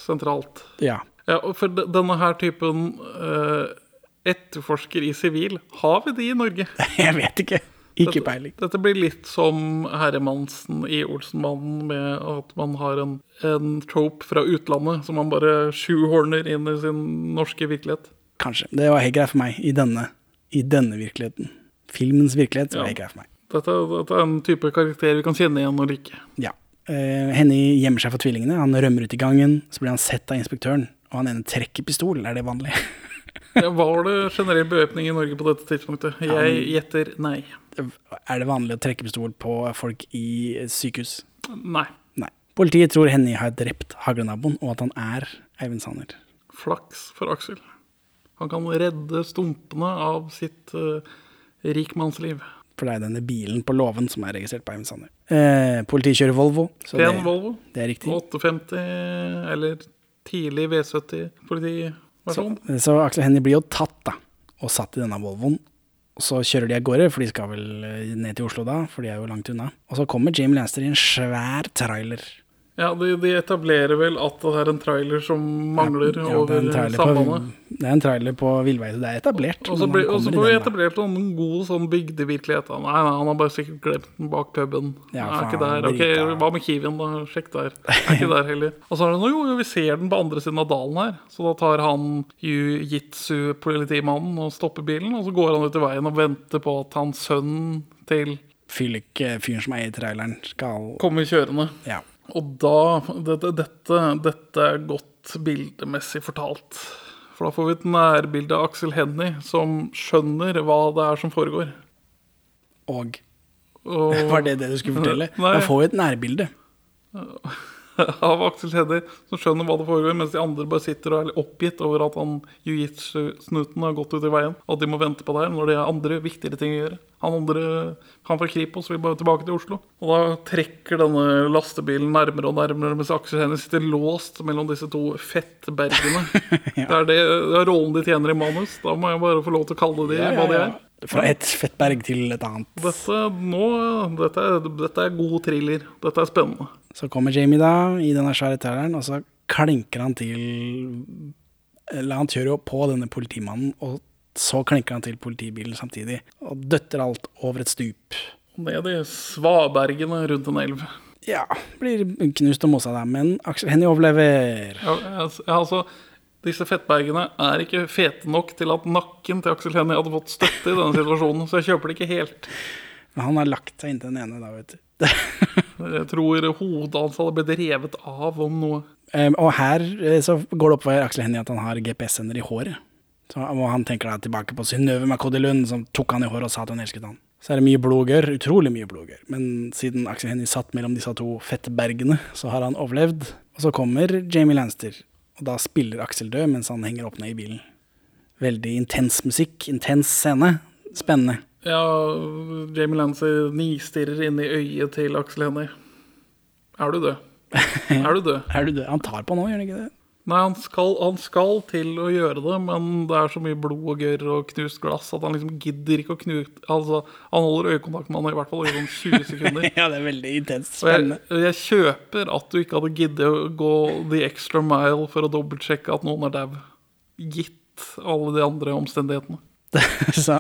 sentralt.
ja.
Ja, og for de- denne her typen eh, etterforsker i sivil, har vi de i Norge?
Jeg vet ikke. Ikke peiling.
Dette blir litt som Herremansen i Olsenmannen, med at man har en, en trope fra utlandet som man bare shoehorner inn i sin norske virkelighet.
Kanskje. Det var helt greit for meg i denne, i denne virkeligheten. Filmens virkelighet så var
Ja.
helt greit for meg.
Dette, dette er en type karakter vi kan kjenne igjen og like.
Ja. Eh, Henny gjemmer seg for tvillingene. Han rømmer ut i gangen. Så blir han sett av inspektøren, og han ene trekker pistolen. Er det vanlig?
Ja, Var det generell bevæpning i Norge på dette tidspunktet? Jeg gjetter nei.
Er det vanlig å trekke pistol på folk i sykehus?
Nei.
Nei. Politiet tror Henny har drept haglenaboen, og at han er Eivind Sanner.
Flaks for Aksel. Han kan redde stumpene av sitt uh, rikmannsliv.
For det er denne bilen på låven som er registrert på Eivind Sanner. Eh, politiet kjører Volvo. så
Pen
det-
Volvo.
Det er riktig.
850, eller tidlig V70-politiversjon.
Så Aksel Hennie blir jo tatt, da, og satt i denne Volvoen. Og så kjører de av gårde, for de skal vel eh, ned til Oslo da, for de er jo langt unna. Og så kommer Jim Lanster i en svær trailer.
Ja, Ja, de, de etablerer vel at det er en trailer som mangler
Ja, det, er
over
en trailer på,
sambandet.
det er en trailer på villveie. Det er etablert.
Og så
når man
blir- og så
kommer i
får
den,
vi
da.
etablert en god sånn bygdevirkelighet. da. Nei, nei, han har bare sikkert glemt den bak puben.
Ja,
er ikke
faen,
der. Ok,
drita.
Hva med Kiwien, da? Sjekk der. Er ikke der heller. Og så er det noe, jo, jo, vi ser den på andre siden av dalen her. Så da tar han jiu-jitsu-politimannen og stopper bilen, og så går han ut i veien og venter på at hans sønn til
Fyllik, eh, fyren som eier traileren, skal
kommer kjørende.
Ja.
Og da dette, dette, dette er godt bildemessig fortalt. For da får vi et nærbilde av Aksel Hennie som skjønner hva det er som foregår.
Og
Og
Var det det du skulle fortelle?
Nei.
Man får jo et nærbilde.
av Aksel Hennie som skjønner hva det foregår, mens de andre bare sitter og er litt oppgitt over at han jiu-jitsu-snuten har gått ut i veien, og at de må vente på det her når det er andre viktigere ting å gjøre. Han andre, han fra Kripos vil bare tilbake til Oslo. Og da trekker denne lastebilen nærmere og nærmere, mens Aksel Hennie sitter låst mellom disse to fettbergene. det, er det, det er rollen de tjener i manus. Da må jeg bare få lov til å kalle de hva de er.
Fra et fettberg til et annet.
Dette, nå, dette, er- dette er god thriller. Dette er spennende.
Så kommer Jamie da, i denne svære traileren, og så klinker han til Eller han kjører jo på denne politimannen, og så klinker han til politibilen samtidig. Og døtter alt over et stup.
Ned i svabergene rundt en elv.
Ja, blir knust og mosa der, men Aksel Hennie overlever.
Ja, altså- ja, altså, disse fettbergene er ikke fete nok til at nakken til Aksel Hennie hadde fått støtte i denne situasjonen, så jeg kjøper det ikke helt.
Men han har lagt seg inntil den ene, da, vet du.
Jeg tror hodet hans hadde blitt revet av om noe.
Em, og her eh, så går det opp for Aksel Hennie at han har GPS-sender i håret. Så, og han tenker da tilbake på Synnøve Makoddi Lund, som tok han i håret og sa at hun elsket han. Så er det mye blodgørr, utrolig mye blodgørr. Men siden Aksel Hennie satt mellom disse to fettbergene, så har han overlevd. Og så kommer Jamie Lanster, og da spiller Aksel død mens han henger opp ned i bilen. Veldig intens musikk, intens scene. Spennende.
Ja, Jamie Lancer nistirrer inn i øyet til Aksel Hennie. Er du død? Er du død?
Er du død? Han tar på nå, gjør han ikke det?
Nei, han skal, han skal til å gjøre det, men det er så mye blod og gørr og knust glass at han liksom gidder ikke å knute Altså, han holder øyekontakt med han i hvert fall i sånn 20 sekunder.
Ja, det er veldig intenst.
Og jeg,
Spennende.
jeg kjøper at du ikke hadde giddet å gå the extra mile for å dobbeltsjekke at noen er dau. Gitt alle de andre omstendighetene.
så,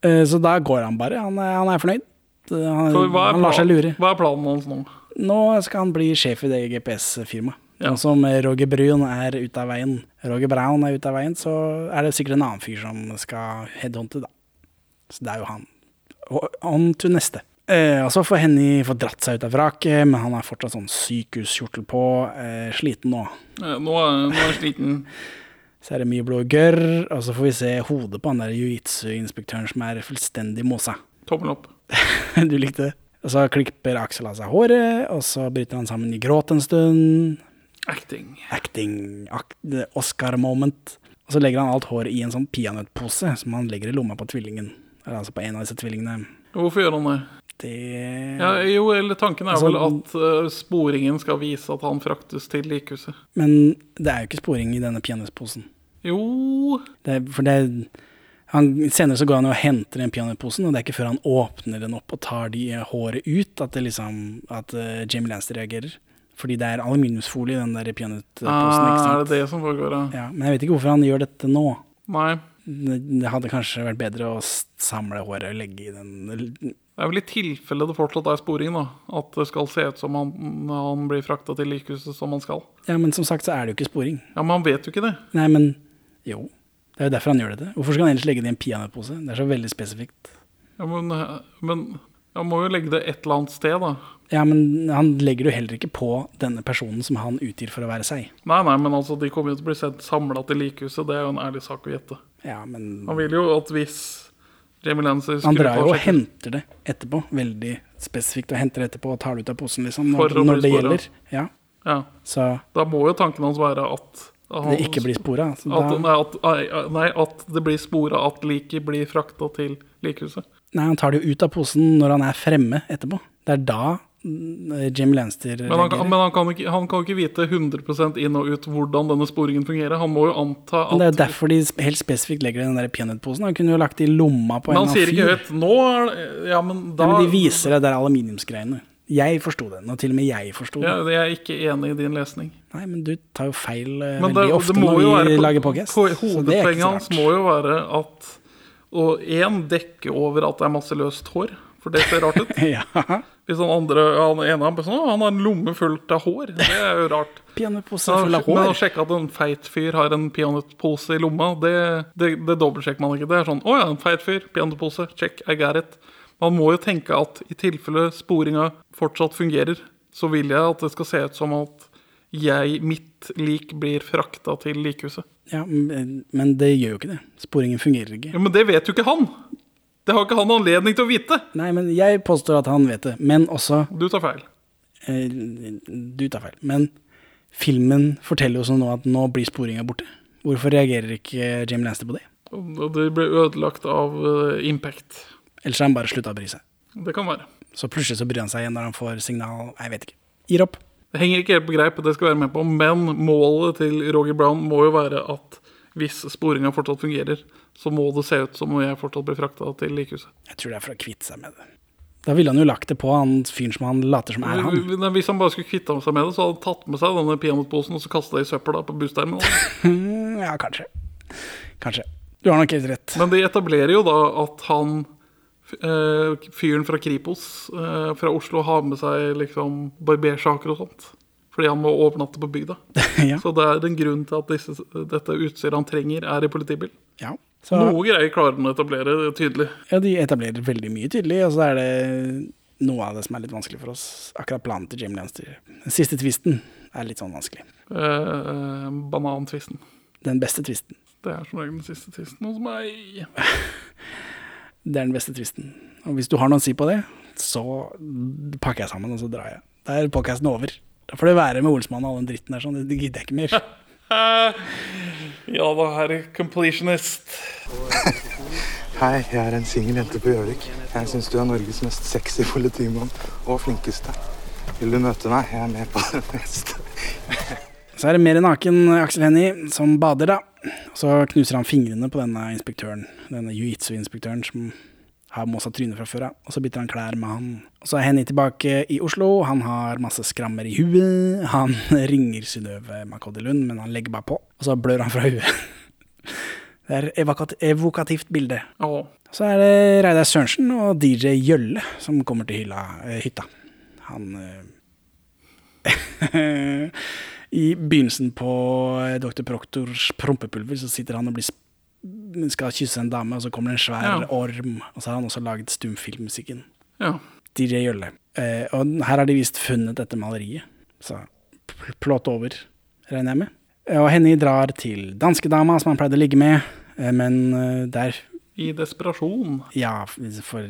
eh, så da går han bare. Han er, han er fornøyd. Han,
Så hva er,
han lar seg
planen,
lure.
hva er planen hans nå?
Nå skal han bli sjef i det GPS-firmaet.
Ja.
Og som Roger Brun er ute av veien, Roger Brown er ute av veien, så er det sikkert en annen fyr som skal headhunte, da. Så det er jo han. Og On to neste. Eh, og så får Henny få dratt seg ut av vraket, men han har fortsatt sånn sykehuskjortel på. Eh, sliten nå.
Eh, Nå er, nå er jeg sliten.
Så er det mye blod og gørr, og så får vi se hodet på han der jiu-jitsu-inspektøren som er fullstendig mosa.
Tommel opp.
Du likte det. Og så klipper Aksel av seg håret, og så bryter han sammen i gråt en stund.
Acting.
Acting, ak Oscar moment. Og så legger han alt håret i en sånn peanøttpose som han legger i lomma på tvillingen. Eller altså på en av disse tvillingene.
Hvorfor gjør han det?
Det
Ja, jo, eller tanken er
Altså,
vel at eh, sporingen skal vise at han fraktes til likhuset.
Men det er jo ikke sporing i denne peanøttposen.
Jo
Det er- For det han, senere så går han og henter den peanøttposen, og det er ikke før han åpner den opp og tar de håret ut at, det liksom, at eh, Jamie Lanster reagerer. Fordi det er aluminiumsfolie i den der peanøttposen. ikke
ah, Er
sant?
det det som foregår, ja?
Ja, men jeg vet ikke hvorfor han gjør dette nå.
Nei.
Det det hadde kanskje vært bedre å s- samle håret og legge i den
Det er vel i tilfelle det fortsatt er sporing, da. At det skal se ut som han, han blir frakta til likhuset som han skal.
Ja, men som sagt så er det jo ikke sporing.
Ja, men han vet jo ikke det.
Nei, men jo. Det er jo derfor han gjør dette. Hvorfor skal han ellers legge det i en peanøttpose? Det er så veldig spesifikt.
Ja, men, men han må jo legge det et eller annet sted, da.
Ja, men han legger det jo heller ikke på denne personen som han utgir for å være seg.
Nei, nei, men altså, de kommer jo til å bli sendt samla til likhuset. Det er jo en ærlig sak å gjette.
Ja, men
Han vil jo at hvis Jamie Lancer
han drar jo og
sjekke-
henter det etterpå. Veldig spesifikt. Og henter det etterpå og tar det ut av posen, liksom.
For
Når,
å bli
når det
sporet.
gjelder. Ja.
Ja,
Så
Da må jo tanken hans være at han,
det ikke blir spora. Så
at,
da,
nei, at, nei, nei, at det blir spora at liket blir frakta til likhuset.
nei, han tar det jo ut av posen når han er fremme etterpå. Det er da mm, Jim Lanster
Men, han,
reagerer.
kan- men han, kan ikke, han kan ikke vite 100 inn og ut hvordan denne sporingen fungerer. Han må jo anta
Men det er jo
at
derfor de sp- helt spesifikt legger det i den der peanøttposen. Han kunne jo lagt det i lomma på
Men
en
han sier
annen
ikke
fyr.
høyt 'Nå er det Ja, men da
Nei, men de viser det der aluminiumsgreiene. Jeg forsto den, og til og med jeg forsto den.
Ja, jeg er ikke enig i din lesning.
Nei, men du tar jo feil eh,
Men
veldig ofte når vi lager podcast.
på-
så det er ikke
Hovedpoenget
så
hans
rart.
må jo være at å én dekke over at det er masse løst hår, for det ser rart ut.
ja.
Hvis han andre, han ene han bare sånn, «Å, han har en lomme fullt av hår. Det er jo rart.
Pianopose
Men
full av
å
hår.
sjekke at en feit fyr har en peanøttpose i lomma, det, det, det dobbeltsjekker man ikke. Det er sånn Å ja, en feit fyr, peanøttpose, check, I got it. Man må jo tenke at i tilfelle sporinga fortsatt fungerer, så vil jeg at det skal se ut som at jeg, mitt lik, blir frakta til likhuset.
Ja, men men det gjør jo ikke det. Sporingen fungerer ikke.
Ja, Men det vet jo ikke han! Det har ikke han anledning til å vite!
Nei, men jeg påstår at han vet det. Men også
Du tar feil.
eh, Du tar feil. Men filmen forteller jo sånn nå at nå blir sporinga borte. Hvorfor reagerer ikke Jim Lanster på det?
Og Det ble ødelagt av eh, impact.
Ellers har han bare slutta å bry seg.
Det kan være.
Så plutselig så bryr han seg igjen når han får signal Jeg vet ikke. Gir opp.
Det henger ikke helt på greip, det skal jeg være med på, men målet til Roger Brown må jo være at hvis sporinga fortsatt fungerer, så må det se ut som om jeg fortsatt blir frakta til likehuset.
Jeg tror det er for å kvitte seg med det. Da ville han jo lagt det på han fyren som han later som er han.
Men Hvis han bare skulle kvitta seg med det, så hadde han tatt med seg denne peanøttposen og så kasta det i søpla på bussterminalen.
Mm, Ja, kanskje. Kanskje. Du har nok helt rett.
Men de etablerer jo da at han eh, fyren fra Kripos eh, fra Oslo har med seg liksom barbersaker og sånt. Fordi han må overnatte på bygda.
ja.
Så det er en grunn til at disse, dette utstyret han trenger, er i politibil.
ja. Så
Noe greier klarer den å etablere det er tydelig.
ja, de etablerer veldig mye tydelig, og så er det noe av det som er litt vanskelig for oss. Akkurat planen til Jim Lanster. Den siste tvisten er litt sånn vanskelig.
Eh, banantvisten.
Den beste tvisten.
Det er som regel den siste tvisten hos meg.
Det er den beste tvisten. Og hvis du har noe å si på det, så pakker jeg sammen, og så drar jeg. Da er podkasten over. Da får det være med Olsmann og all den dritten der sånn. Det gidder jeg ikke mer.
Eh, ja da, herre completionist.
Hei, jeg er en singel jente på Gjøvik. Jeg syns du er Norges mest sexy politimann og flinkeste. Vil du møte meg? Jeg er med på det meste.
Så er det mer naken eh, Aksel Hennie som bader, da. Så knuser han fingrene på denne inspektøren, denne jiu-jitsu-inspektøren som har mossa trynet fra før av. Og så bytter han klær med han. Og så er Hennie tilbake i Oslo. Han har masse skrammer i huet. Han ringer Synnøve Makodde Lund, men han legger bare på. Og så blør han fra huet. Det er evokat evokativt bilde.
Ja,
Så er det Reidar Sørensen og DJ Gjølle som kommer til hylla, eh, hytta. Han eh, I begynnelsen på eh, Dr. Proktors prompepulver så sitter han og blir sp- skal kysse en dame, og så kommer det en svær
Ja.
orm. Og så har han også laget stumfilmmusikken.
ja.
DJ Gjølle. Eh, og her har de visst funnet dette maleriet. Så pl- plåt over, regner jeg med. Eh, Og Henny drar til danskedama som han pleide å ligge med, eh, men eh, der
I desperasjon.
ja, f- for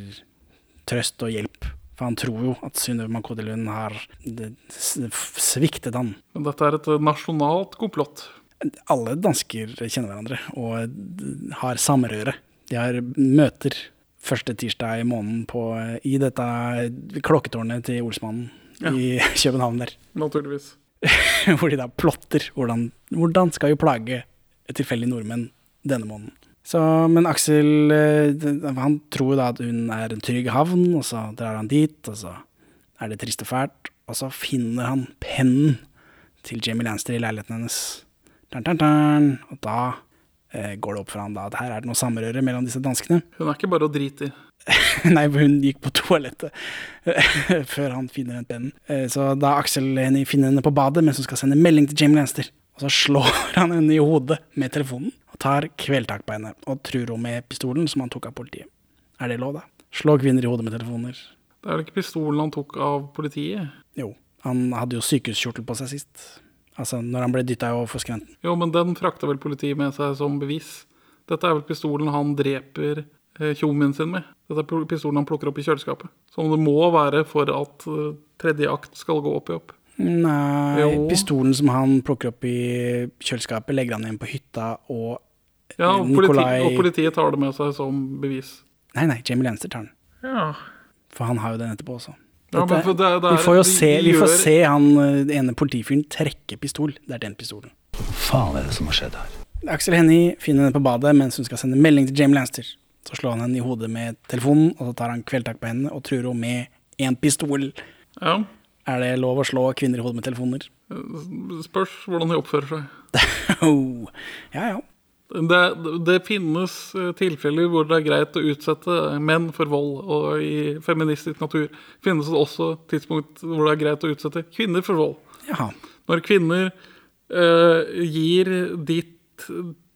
trøst og hjelp. For han tror jo at Synnøve Mankode Lund har det, s- f- sviktet han.
Men dette er et nasjonalt komplott.
Alle dansker kjenner hverandre og d- har samrøre. De har møter første tirsdag i måneden på, i dette klokketårnet til Olsmannen i København der.
Naturligvis.
Hvor de da plotter hvordan, hvordan skal jo plage tilfeldige nordmenn denne måneden. Så, men Aksel eh, d- han tror jo da at hun er en trygg havn, og så drar han dit, og så er det trist og fælt. Og så finner han pennen til Jamie Lanster i leiligheten hennes. Tan, tan, tan. Og da eh, går det opp for han da at her er det noe samrøre mellom disse danskene.
Hun er ikke bare å drite i.
Nei, for hun gikk på toalettet før han finner den pennen. Eh, Så da Aksel henne finner henne på badet mens hun skal sende melding til Jamie Lanster. Og så slår han henne i hodet med telefonen og tar kveltak på henne. Og truer henne med pistolen som han tok av politiet. Er det lov, da? Slå kvinner i hodet med telefoner.
Det er vel ikke pistolen han tok av politiet?
Jo, han hadde jo sykehuskjortel på seg sist. Altså når han ble dytta overfor skrenten.
Jo, men den frakta vel politiet med seg som bevis. Dette er vel pistolen han dreper eh, tjommien sin med. Dette er pol- pistolen han plukker opp i kjøleskapet. Som det må være for at eh, tredje akt skal gå opp i opp.
Nei,
Jo.
pistolen som han plukker opp i kjøleskapet, legger han igjen på hytta og
Ja, og, politi
Nikolai-
og politiet tar det med seg som bevis.
Nei, nei, Jamie Lanster tar den.
Ja,
For han har jo den etterpå også.
Ja, men
Dette-
for det- det er-
vi får jo
de-
se,
de
vi får
gjør-
se han eh, den ene politifyren trekke pistol. Det er den pistolen.
faen er det som har skjedd her?
Aksel Hennie finner henne på badet mens hun skal sende melding til Jamie Lanster. Så slår han henne i hodet med telefonen, og så tar han kveldtak på henne og truer henne med en pistol.
Ja.
Er det lov å slå kvinner i hodet med telefoner?
Spørs hvordan de oppfører seg.
Oh. Ja, ja.
Det, det finnes eh, tilfeller hvor det er greit å utsette menn for vold. Og i feministisk natur finnes det også tidspunkt hvor det er greit å utsette kvinner for vold.
Jaha.
Når kvinner eh, gir ditt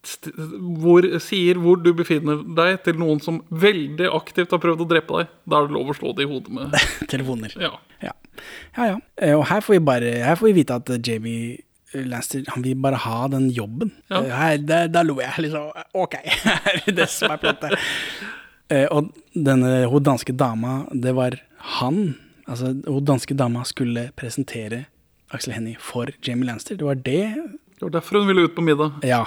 st hvor, Sier hvor du befinner deg, til noen som veldig aktivt har prøvd å drepe deg, da er det lov å slå det i hodet med
Telefoner.
Ja.
Ja. ja, ja. Eh, Og her får vi, bare, her får vi vite at eh, Jamie Lanster han vil bare ha den jobben.
Ja.
Eh, Her, da, da lo jeg liksom. Ok, er det det som er plottet? Eh, og denne hun danske dama, det var han. Altså, hun danske dama skulle presentere Aksel Hennie for Jamie Lanster. Det var det
Det var derfor hun ville ut på middag.
Ja.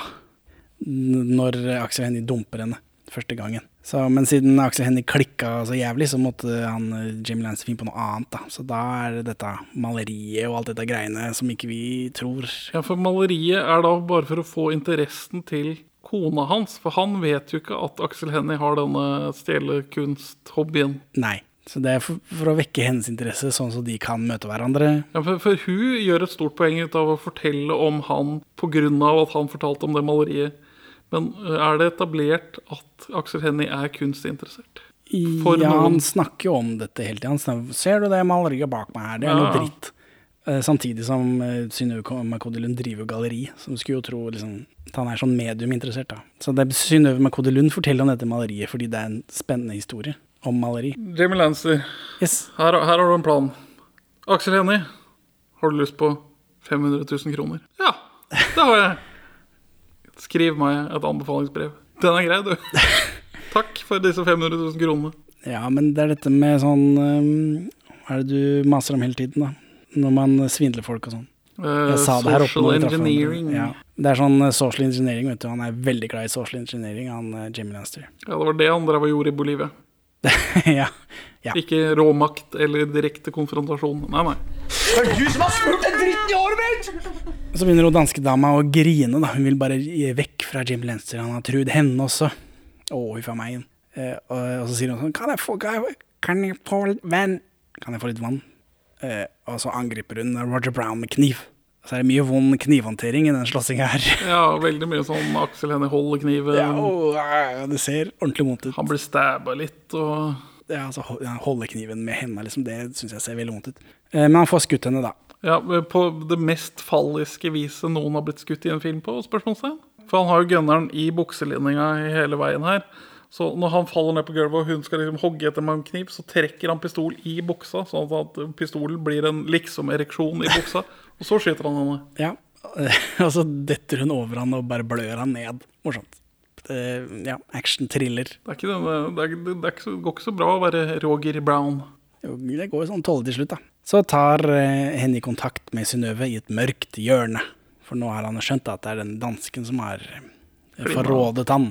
N- Når Aksel Hennie dumper henne første gangen. Så, men siden Aksel Hennie klikka så jævlig, så måtte han eh, Jim Lance finne på noe annet. da. Så da er det dette maleriet og alt dette greiene som ikke vi tror
Ja, for maleriet er da bare for å få interessen til kona hans. For han vet jo ikke at Aksel Hennie har denne stjelekunsthobbyen.
Nei. Så det er for, for å vekke hennes interesse, sånn så de kan møte hverandre.
Ja, for, for hun gjør et stort poeng ut av å fortelle om han pga. at han fortalte om det maleriet. Men eh, er det etablert at Aksel Hennie er kunstinteressert? For
ja,
noen.
han snakker jo om dette hele tida. Han snakker, 'Ser du det maleriet bak meg her? Det er noe
Ja.
dritt.' Eh, Samtidig som eh, Synnøve Ko- Makode Lund driver jo galleri, så du skulle jo tro liksom, at han er sånn mediuminteressert. da. Så det er Synnøve Makode Lund forteller om dette maleriet fordi det er en spennende historie om maleri.
Jamie Lancer,
Yes,
her, her har du en plan. Aksel Hennie, har du lyst på 500 000 kroner? Ja, det har jeg. Skriv meg et anbefalingsbrev. Den er grei, du. Takk for disse 500 000 kronene.
Ja, men det er dette med sånn eh, Hva er det du maser om hele tiden, da? Når man svindler folk og sånn.
Eh,
Jeg sa det her oppe
social
når vi traff hverandre.
engineering. Ja.
Ja. Det er sånn eh, social engineering, vet du. Han er veldig glad i social engineering, han eh, Jimmy Lanster.
det var det han drev og gjorde i Bolivia.
ja. ja.
Ikke råmakt eller direkte konfrontasjon. Nei, nei.
Så begynner hun danskedama å grine, da. Hun vil bare gi vekk fra Jim Lenster. Han har truet henne også. Å, huff a meg. Eh, og, og så sier hun sånn Kan jeg få, kan jeg, kan jeg få litt vann? Kan jeg få litt vann? Eh, og så angriper hun Roger Brown med kniv. Så er det mye vond knivhåndtering i den slåssinga her.
Ja, veldig mye sånn Aksel Hennie holder kniven.
Ja, og, eh, det ser ordentlig vondt ut.
Han blir stabba litt og
Ja, altså, ho- ja, holde kniven med henda, liksom. Det syns jeg ser veldig vondt ut. Eh, men han får skutt henne, da.
Ja, på det mest falliske viset noen har blitt skutt i en film på? spørsmålstegn. For han har jo gunneren i bukselinninga i hele veien her. Så når han faller ned på gulvet og hun skal liksom hogge etter med en kniv, så trekker han pistol i buksa, sånn at pistolen blir en liksom-ereksjon i buksa. Og så skyter han henne.
Ja. og så detter hun over han og bare blør han ned. Morsomt. Eh, ja, action-thriller.
Det, er ikke denne, det, er, det, er ikke, så- går ikke så bra å være Roger Brown.
Jo, Det går jo sånn tålelig til slutt, da. Så tar eh, Henny kontakt med Synnøve i et mørkt hjørne. For nå har han skjønt at det er den dansken som har eh, forrådet han,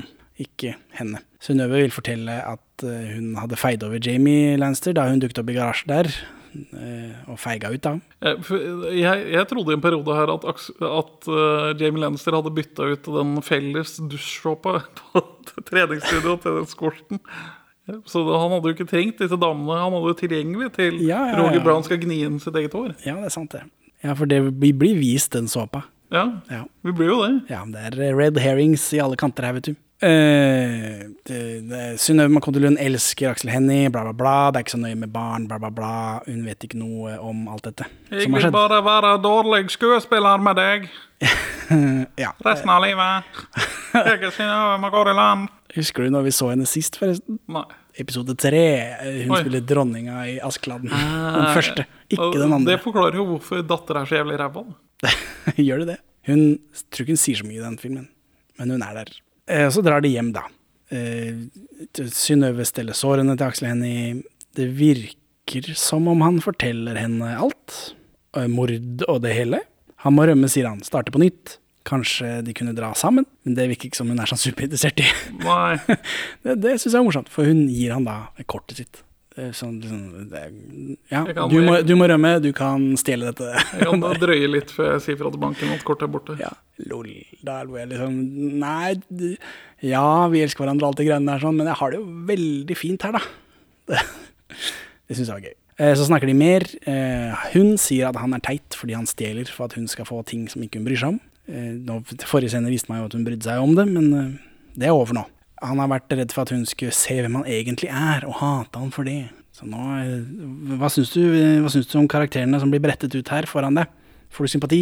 ikke henne. Synnøve vil fortelle at eh, hun hadde feid over Jamie Lanster da hun dukket opp i garasjen der, eh, og feiga ut, da.
Eh, for Jeg, jeg trodde i en periode her at, Aks- at eh, Jamie Lannister hadde bytta ut den felles dusjsåpa på treningsstudioet til den skorten. Så da, han hadde jo ikke trengt disse damene. Han hadde jo tilgjengelig til
Ja, ja, ja.
Roger Brown skal gni inn sitt eget hår.
Ja, det er sant, det. Ja, for det vi blir vist den såpa.
Ja,
Ja.
vi blir jo det.
Ja, men det er eh, red herrings i alle kanter her, vet du. Eh, det- det- Synnøve Makodelund elsker Aksel Hennie, bla, bla, bla. Det er ikke så nøye med barn, bla, bla, bla. Hun vet ikke noe om alt dette
Jeg
som har
vil
skjedd.
bare være dårlig skuespiller med deg
Ja.
resten av livet. Jeg kan si noe om å gå i land.
Husker du når vi så henne sist, forresten?
Nei.
Episode tre. Eh, Hun
Oi. Ah.
spiller dronninga i Askeladden. Den første,
Og
ikke den andre.
Det forklarer jo hvorfor datter er så jævlig ræva.
Gjør det det? Hun jeg tror ikke hun sier så mye i den filmen, men hun er der. Eh, så drar de hjem, da. Eh, Synnøve steller sårene til Aksel Hennie. Det virker som om han forteller henne alt. Eh, mord og det hele. Han må rømme, sier han. Starte på nytt. Kanskje de kunne dra sammen, men det virker ikke som hun er sånn superinteressert i.
Nei.
det det syns jeg er morsomt, for hun gir han da kortet sitt. Eh, Sånn, liksom, det, ja,
Jeg kan-
du må, du må rømme, du kan stjele dette.
Jeg kan drøye litt før jeg sier fra til banken at kortet er borte.
Ja, lol. Da er jeg liksom Nei, du- ja, vi elsker hverandre og alt det greiene der sånn, men jeg har det jo veldig fint her, da. Det, det syns jeg var gøy. Eh, Så snakker de mer. Eh, Hun sier at han er teit fordi han stjeler for at hun skal få ting som ikke hun bryr seg om. Eh, nå- Forrige scene viste meg jo at hun brydde seg om det, men eh, det er over nå. Han har vært redd for at hun skulle se hvem han egentlig er, og hate han for det. Så nå, eh, hva syns du, hva syns du om karakterene som blir brettet ut her foran deg? Får du sympati?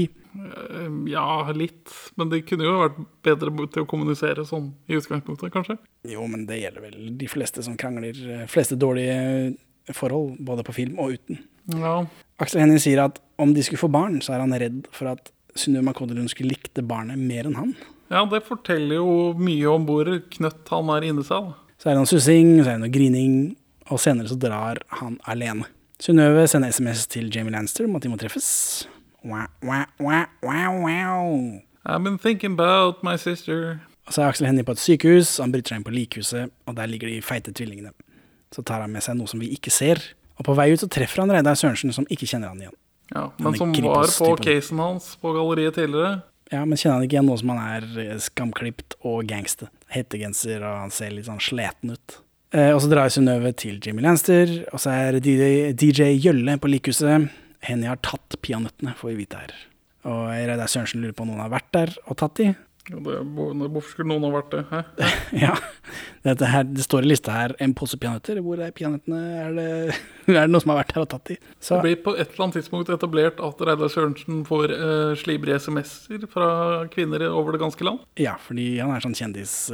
Ja, litt. Men det kunne jo vært bedre til å kommunisere sånn i utgangspunktet, kanskje.
Jo, men det gjelder vel de fleste som krangler. eh, Fleste dårlige eh, forhold, både på film og uten.
Ja.
Aksel Hennie sier at om de skulle få barn, så er han redd for at Synnøve Makodelund skulle likte barnet mer enn han.
ja, det forteller jo mye om hvor knøtt han er inni seg. da.
Så er det noe sussing, så er det noe grining, og senere så drar han alene. Synnøve sender SMS til Jamie Lanster om at de må treffes. Wow, wow, wow, wow, wow.
I've been thinking about my sister.
Og så er Aksel Hennie på et sykehus, han bryter seg inn på likhuset, og der ligger de feite tvillingene. Så tar han med seg noe som vi ikke ser, og på vei ut så treffer han Reidar Sørensen, som ikke kjenner han igjen.
Ja,
Han
Men som
griper
var
oss
på
til på-
casen hans på galleriet tidligere.
Ja, men kjenner han ikke igjen nå som han er eh, skamklipt og gangster. Hettegenser, og han ser litt sånn sliten ut. Eh, og så drar Synnøve til Jimmy Lanster, og så er DJ, DJ Gjølle på likhuset. Henny har tatt peanøttene, får vi vite her. Og Reidar Sørensen lurer på om noen har vært der og tatt de.
Ja, det, er bo- hvorfor skulle noen ha vært det? Hæ?
ja, Dette her, det står i lista her en pose peanøtter. Hvor er peanøttene? Er det, er det noen som har vært der og tatt de? Så,
Det blir på et eller annet tidspunkt etablert at Reidar Sørensen får eh, slibrige SMS-er fra kvinner over det ganske land.
Ja, fordi han er sånn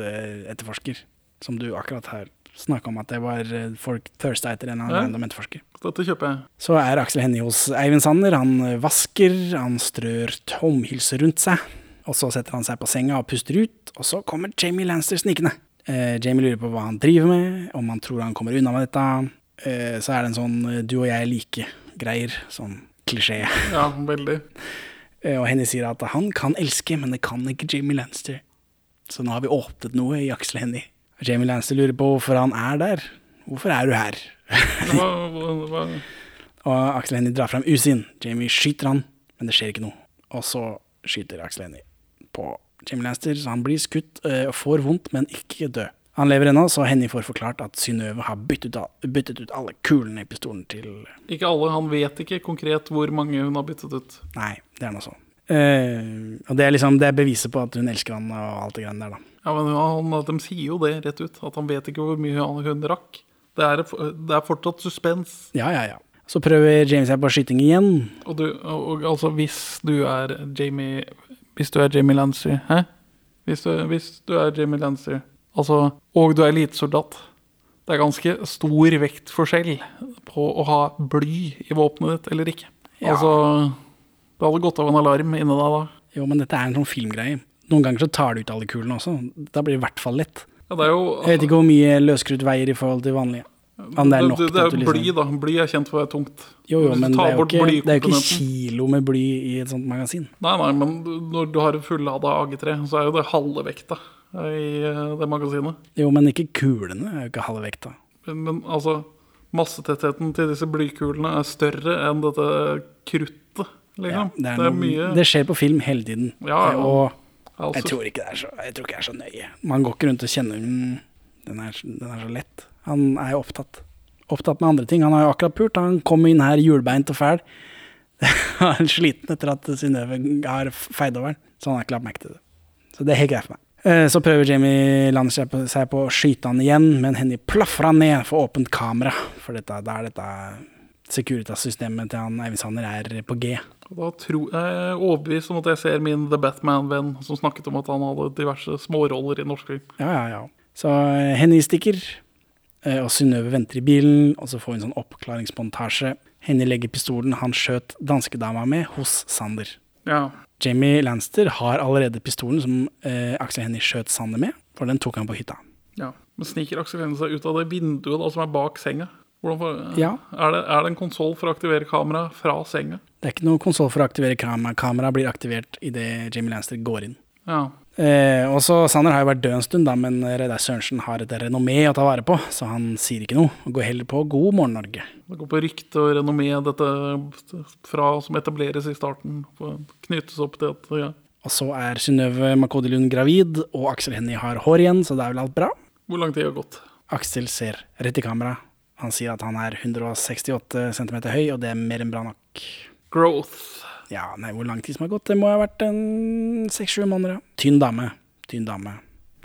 kjendisetterforsker, som du akkurat har snakka om at det var eh, folk thirsta etter en eller annen
Ja.
random etterforsker.
Så Dette kjøper jeg.
Så er Aksel Hennie hos Eivind Sanner. Han eh, vasker, han strør tomhylser rundt seg. Og så setter han seg på senga og puster ut, og så kommer Jamie Lanster snikende. Eh, Jamie lurer på hva han driver med, om han tror han kommer unna med dette. Eh, så er det en sånn eh, du og jeg er like-greier, sånn klisjé.
Ja, veldig.
Eh, Og Henny sier at han kan elske, men det kan ikke Jamie Lanster. Så nå har vi åpnet noe i Aksel Hennie. Jamie Lanster lurer på hvorfor han er der. Hvorfor er du her?
Hva, hva, hva?
Og Aksel Hennie drar fram Usin. Jamie skyter han, men det skjer ikke noe. Og så skyter Aksel Hennie på Jamie Lanster, så han blir skutt eh, og får vondt, men ikke død. Han lever ennå, så Hennie får forklart at Synnøve har byttet, al- byttet ut alle kulene i pistolen til
Ikke alle. Han vet ikke konkret hvor mange hun har byttet ut.
Nei, det er noe sånn. Eh, og det er liksom det er beviset på at hun elsker han og alt det greiene der, da.
Ja, men han, De sier jo det rett ut, at han vet ikke hvor mye han- hun rakk. Det er, det er fortsatt suspens.
Ja, ja, ja. Så prøver James seg på skyting igjen.
Og, du, og, og altså, hvis du er Jamie Hvis du er Jamie Lancer Hæ? Hvis du, hvis du er Jamie Lancer Altså, og du er elitesoldat Det er ganske stor vektforskjell på å ha bly i våpenet ditt eller ikke. Altså Det hadde gått av en alarm inni deg da.
Jo, men dette er en sånn filmgreie. Noen ganger så tar det ut alle kulene også. Da blir det i hvert fall lett.
Ja, det er jo
Jeg vet ikke hvor mye løskrutt veier i forhold til vanlige. Om det er nok
det, det
til
er
at du liksom-
jo bly, da. Bly er kjent for å være tungt.
Jo, jo,
Hvis du
men det
tar
er jo
bort
ikke, det er jo ikke
blykomponenten-
kilo med bly i et sånt magasin.
Nei, nei, men du- når du har en fullada AG3, så er jo det halve vekta i eh, det magasinet.
Jo, men ikke kulene er jo ikke halve vekta.
Men, men altså, massetettheten til disse blykulene er større enn dette kruttet,
Ja,
liksom.
det, er
det
noe,
er mye
det skjer på film hele tiden.
Ja, ja.
Og
altså,
jeg tror ikke det er så, jeg tror ikke det er så nøye. Man går ikke rundt og kjenner mm, den er, den er så lett. Han er jo opptatt. Opptatt med andre ting. Han har jo akkurat pult. Han kom inn her hjulbeint og fæl. Han er Sliten etter at Synnøve har feid over han. Så han har ikke lagt merke til det. Så det er helt greit for meg. Eh, Så prøver Jamie Land seg på- seg på å skyte han igjen, men Henny plaffer han ned for åpent kamera. For dette, da er dette Securitas-systemet til han Eivind Sanner er på G.
da tror jeg er overbevist om at jeg ser min The Batman-venn som snakket om at han hadde diverse småroller i norsk film.
Ja, ja, ja. Så eh, Henny stikker, eh, og Synnøve venter i bilen, og så får vi en sånn oppklaringsmontasje. Henny legger pistolen han skjøt danskedama med, hos Sander.
Ja.
Jamie Lanster har allerede pistolen som eh, Aksel Hennie skjøt Sander med, for den tok han på hytta.
ja. Men sniker Aksel Hennie seg ut av det vinduet da, som er bak senga? Hvordan får-
Ja.
er, det, er det en konsoll for å aktivere kamera fra senga?
Det er ikke noe konsoll for å aktivere kamera. Kamera blir aktivert idet Jamie Lanster går inn.
Ja.
Eh, og så Sander har jo vært død en stund, da, men Reidar Sørensen har et renommé å ta vare på, så han sier ikke noe, og går heller på God morgen, Norge.
Det går på rykte og renommé, dette fra som etableres i starten. Knyttes opp til at ja.
Og så er Synnøve Makodi Lund gravid, og Aksel Hennie har hår igjen, så det er vel alt bra.
Hvor lang tid har gått?
Aksel ser rett i kamera Han sier at han er 168 cm høy, og det er mer enn bra nok.
Growth.
Ja, nei, hvor lang tid som har gått? Det må ha vært en seks-sju måneder, ja. Tynn dame. Tynn dame.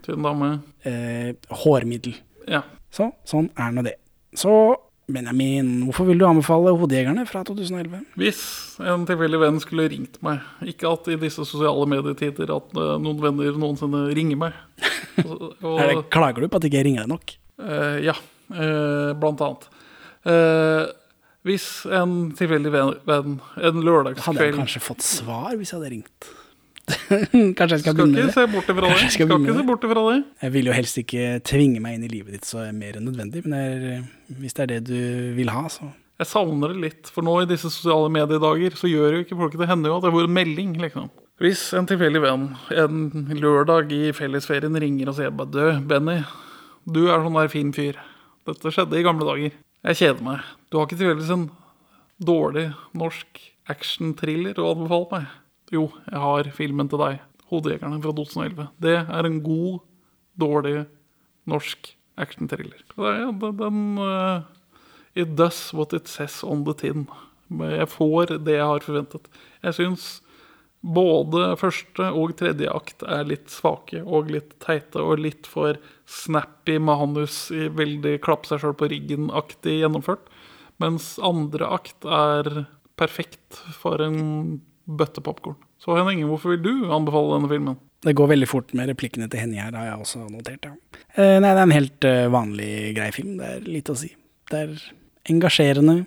Tynn dame.
Eh, hårmiddel.
Ja.
Så, sånn er nå det. Så, Benjamin, hvorfor vil du anbefale Hodejegerne fra 2011?
Hvis en tilfeldig venn skulle ringt meg Ikke at i disse sosiale medietider at eh, noen venner noensinne ringer meg. Og, og-
Er det, klager du på at ikke jeg ringer deg nok?
Eh, ja, eh, blant annet. Eh, hvis en tilfeldig venn, venn en
Hadde jeg
lørdagskveld
kanskje fått svar hvis jeg hadde ringt? kanskje jeg skal
Skal
begynne med
ikke
det?
se bort ifra
Kanskje
det.
jeg skal
Skal
begynne
ikke se
med
bort ifra det.
Jeg vil jo helst ikke tvinge meg inn i livet ditt så er mer enn nødvendig, men det er, eh, hvis det er det du vil ha, så
Jeg savner det litt, for nå i disse sosiale mediedager så gjør jo ikke folk det. hender jo at det får en melding, liksom. Hvis en tilfeldig venn en lørdag i fellesferien ringer og sier bare Du, Benny, du er sånn der fin fyr. Dette skjedde i gamle dager. Jeg kjeder meg. Du har ikke tilfeldigvis en dårlig norsk action-thriller å anbefale meg? Jo, jeg har filmen til deg. 'Hodejegerne' fra 2011. Det er en god, dårlig norsk action-thriller. Det er- ja, Den, den eh, It does what it says on the tin. Men Jeg får det jeg har forventet. Jeg syns både første og tredje akt er litt svake og litt teite og litt for snappy manus i veldig klappe seg sjøl på ryggen-aktig gjennomført. Mens andre akt er perfekt for en bøtte popkorn. Så Henning, hvorfor vil du anbefale denne filmen?
Det går veldig fort med replikkene til Henny her, har jeg også notert. Ja. Eh, nei, det er en helt eh, vanlig, grei film. Det er lite å si. Det er engasjerende,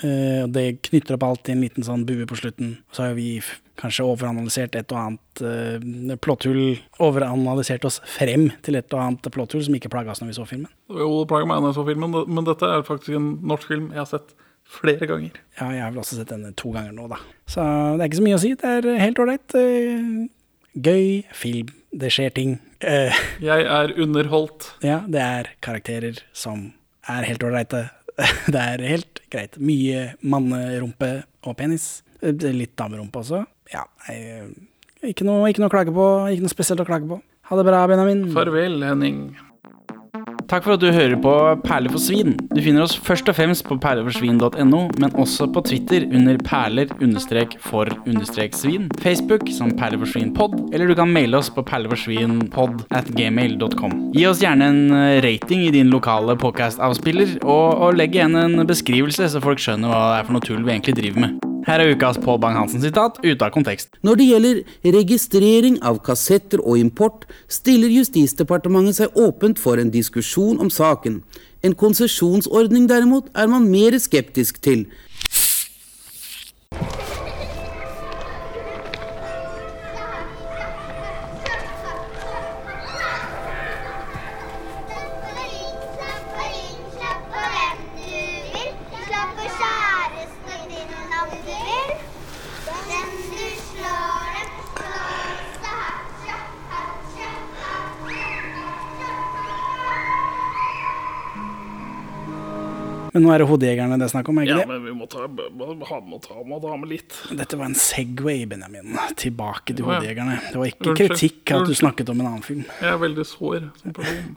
eh, og det knytter opp alt i en liten sånn bue på slutten. Så har jo vi f- kanskje overanalysert et og annet eh, plotthull, overanalysert oss frem til et og annet plotthull som ikke plaga oss når vi så filmen.
Jo, det plager meg når jeg så filmen, men dette er faktisk en norsk film jeg har sett flere ganger.
Ja, jeg har vel også sett denne to ganger nå, da. Så det er ikke så mye å si. Det er helt ålreit. eh, Gøy film. Det skjer ting. Eh,
Jeg er underholdt.
Ja, det er karakterer som er helt ålreite. Det er helt greit. Mye mannerumpe og penis. Eh, Litt damerumpe også. Ja, nei, eh, ikke noe, ikke noe å klage på. Ikke noe spesielt å klage på. Ha det bra, Benjamin.
Farvel, Henning.
Takk for at du hører på Perler for svin. Du finner oss først og fremst på perleforsvin.no, men også på Twitter under perler-for-svin, Facebook som perleforsvinpod, eller du kan maile oss på perleforsvinpod at gmail.com. Gi oss gjerne en eh, rating i din lokale podcast-avspiller, og, og legg igjen en beskrivelse, så folk skjønner hva det er for noe tull vi egentlig driver med. Her er ukas Pål Bang-Hansen-sitat ute av kontekst.
Når det gjelder registrering av kassetter og import, stiller Justisdepartementet seg åpent for en diskusjon om saken. En konsesjonsordning derimot er man mer skeptisk til.
Slapp av hvem du vil. Slapp av kjæresten din om du vil. Den du slår, den slår så hardt, så hardt, så hardt, så hardt, så hardt.
Men nå er det hodejegerne det er snakk om, er ikke det?
men vi må ta, ha med, ta med, ta med litt.
Dette var en Segway, Benjamin. Tilbake til
Ja, ja.
hodejegerne. Det var ikke
Unnskyld.
kritikk at du
Unnskyld.
snakket om en annen film.
Jeg er veldig sår som person.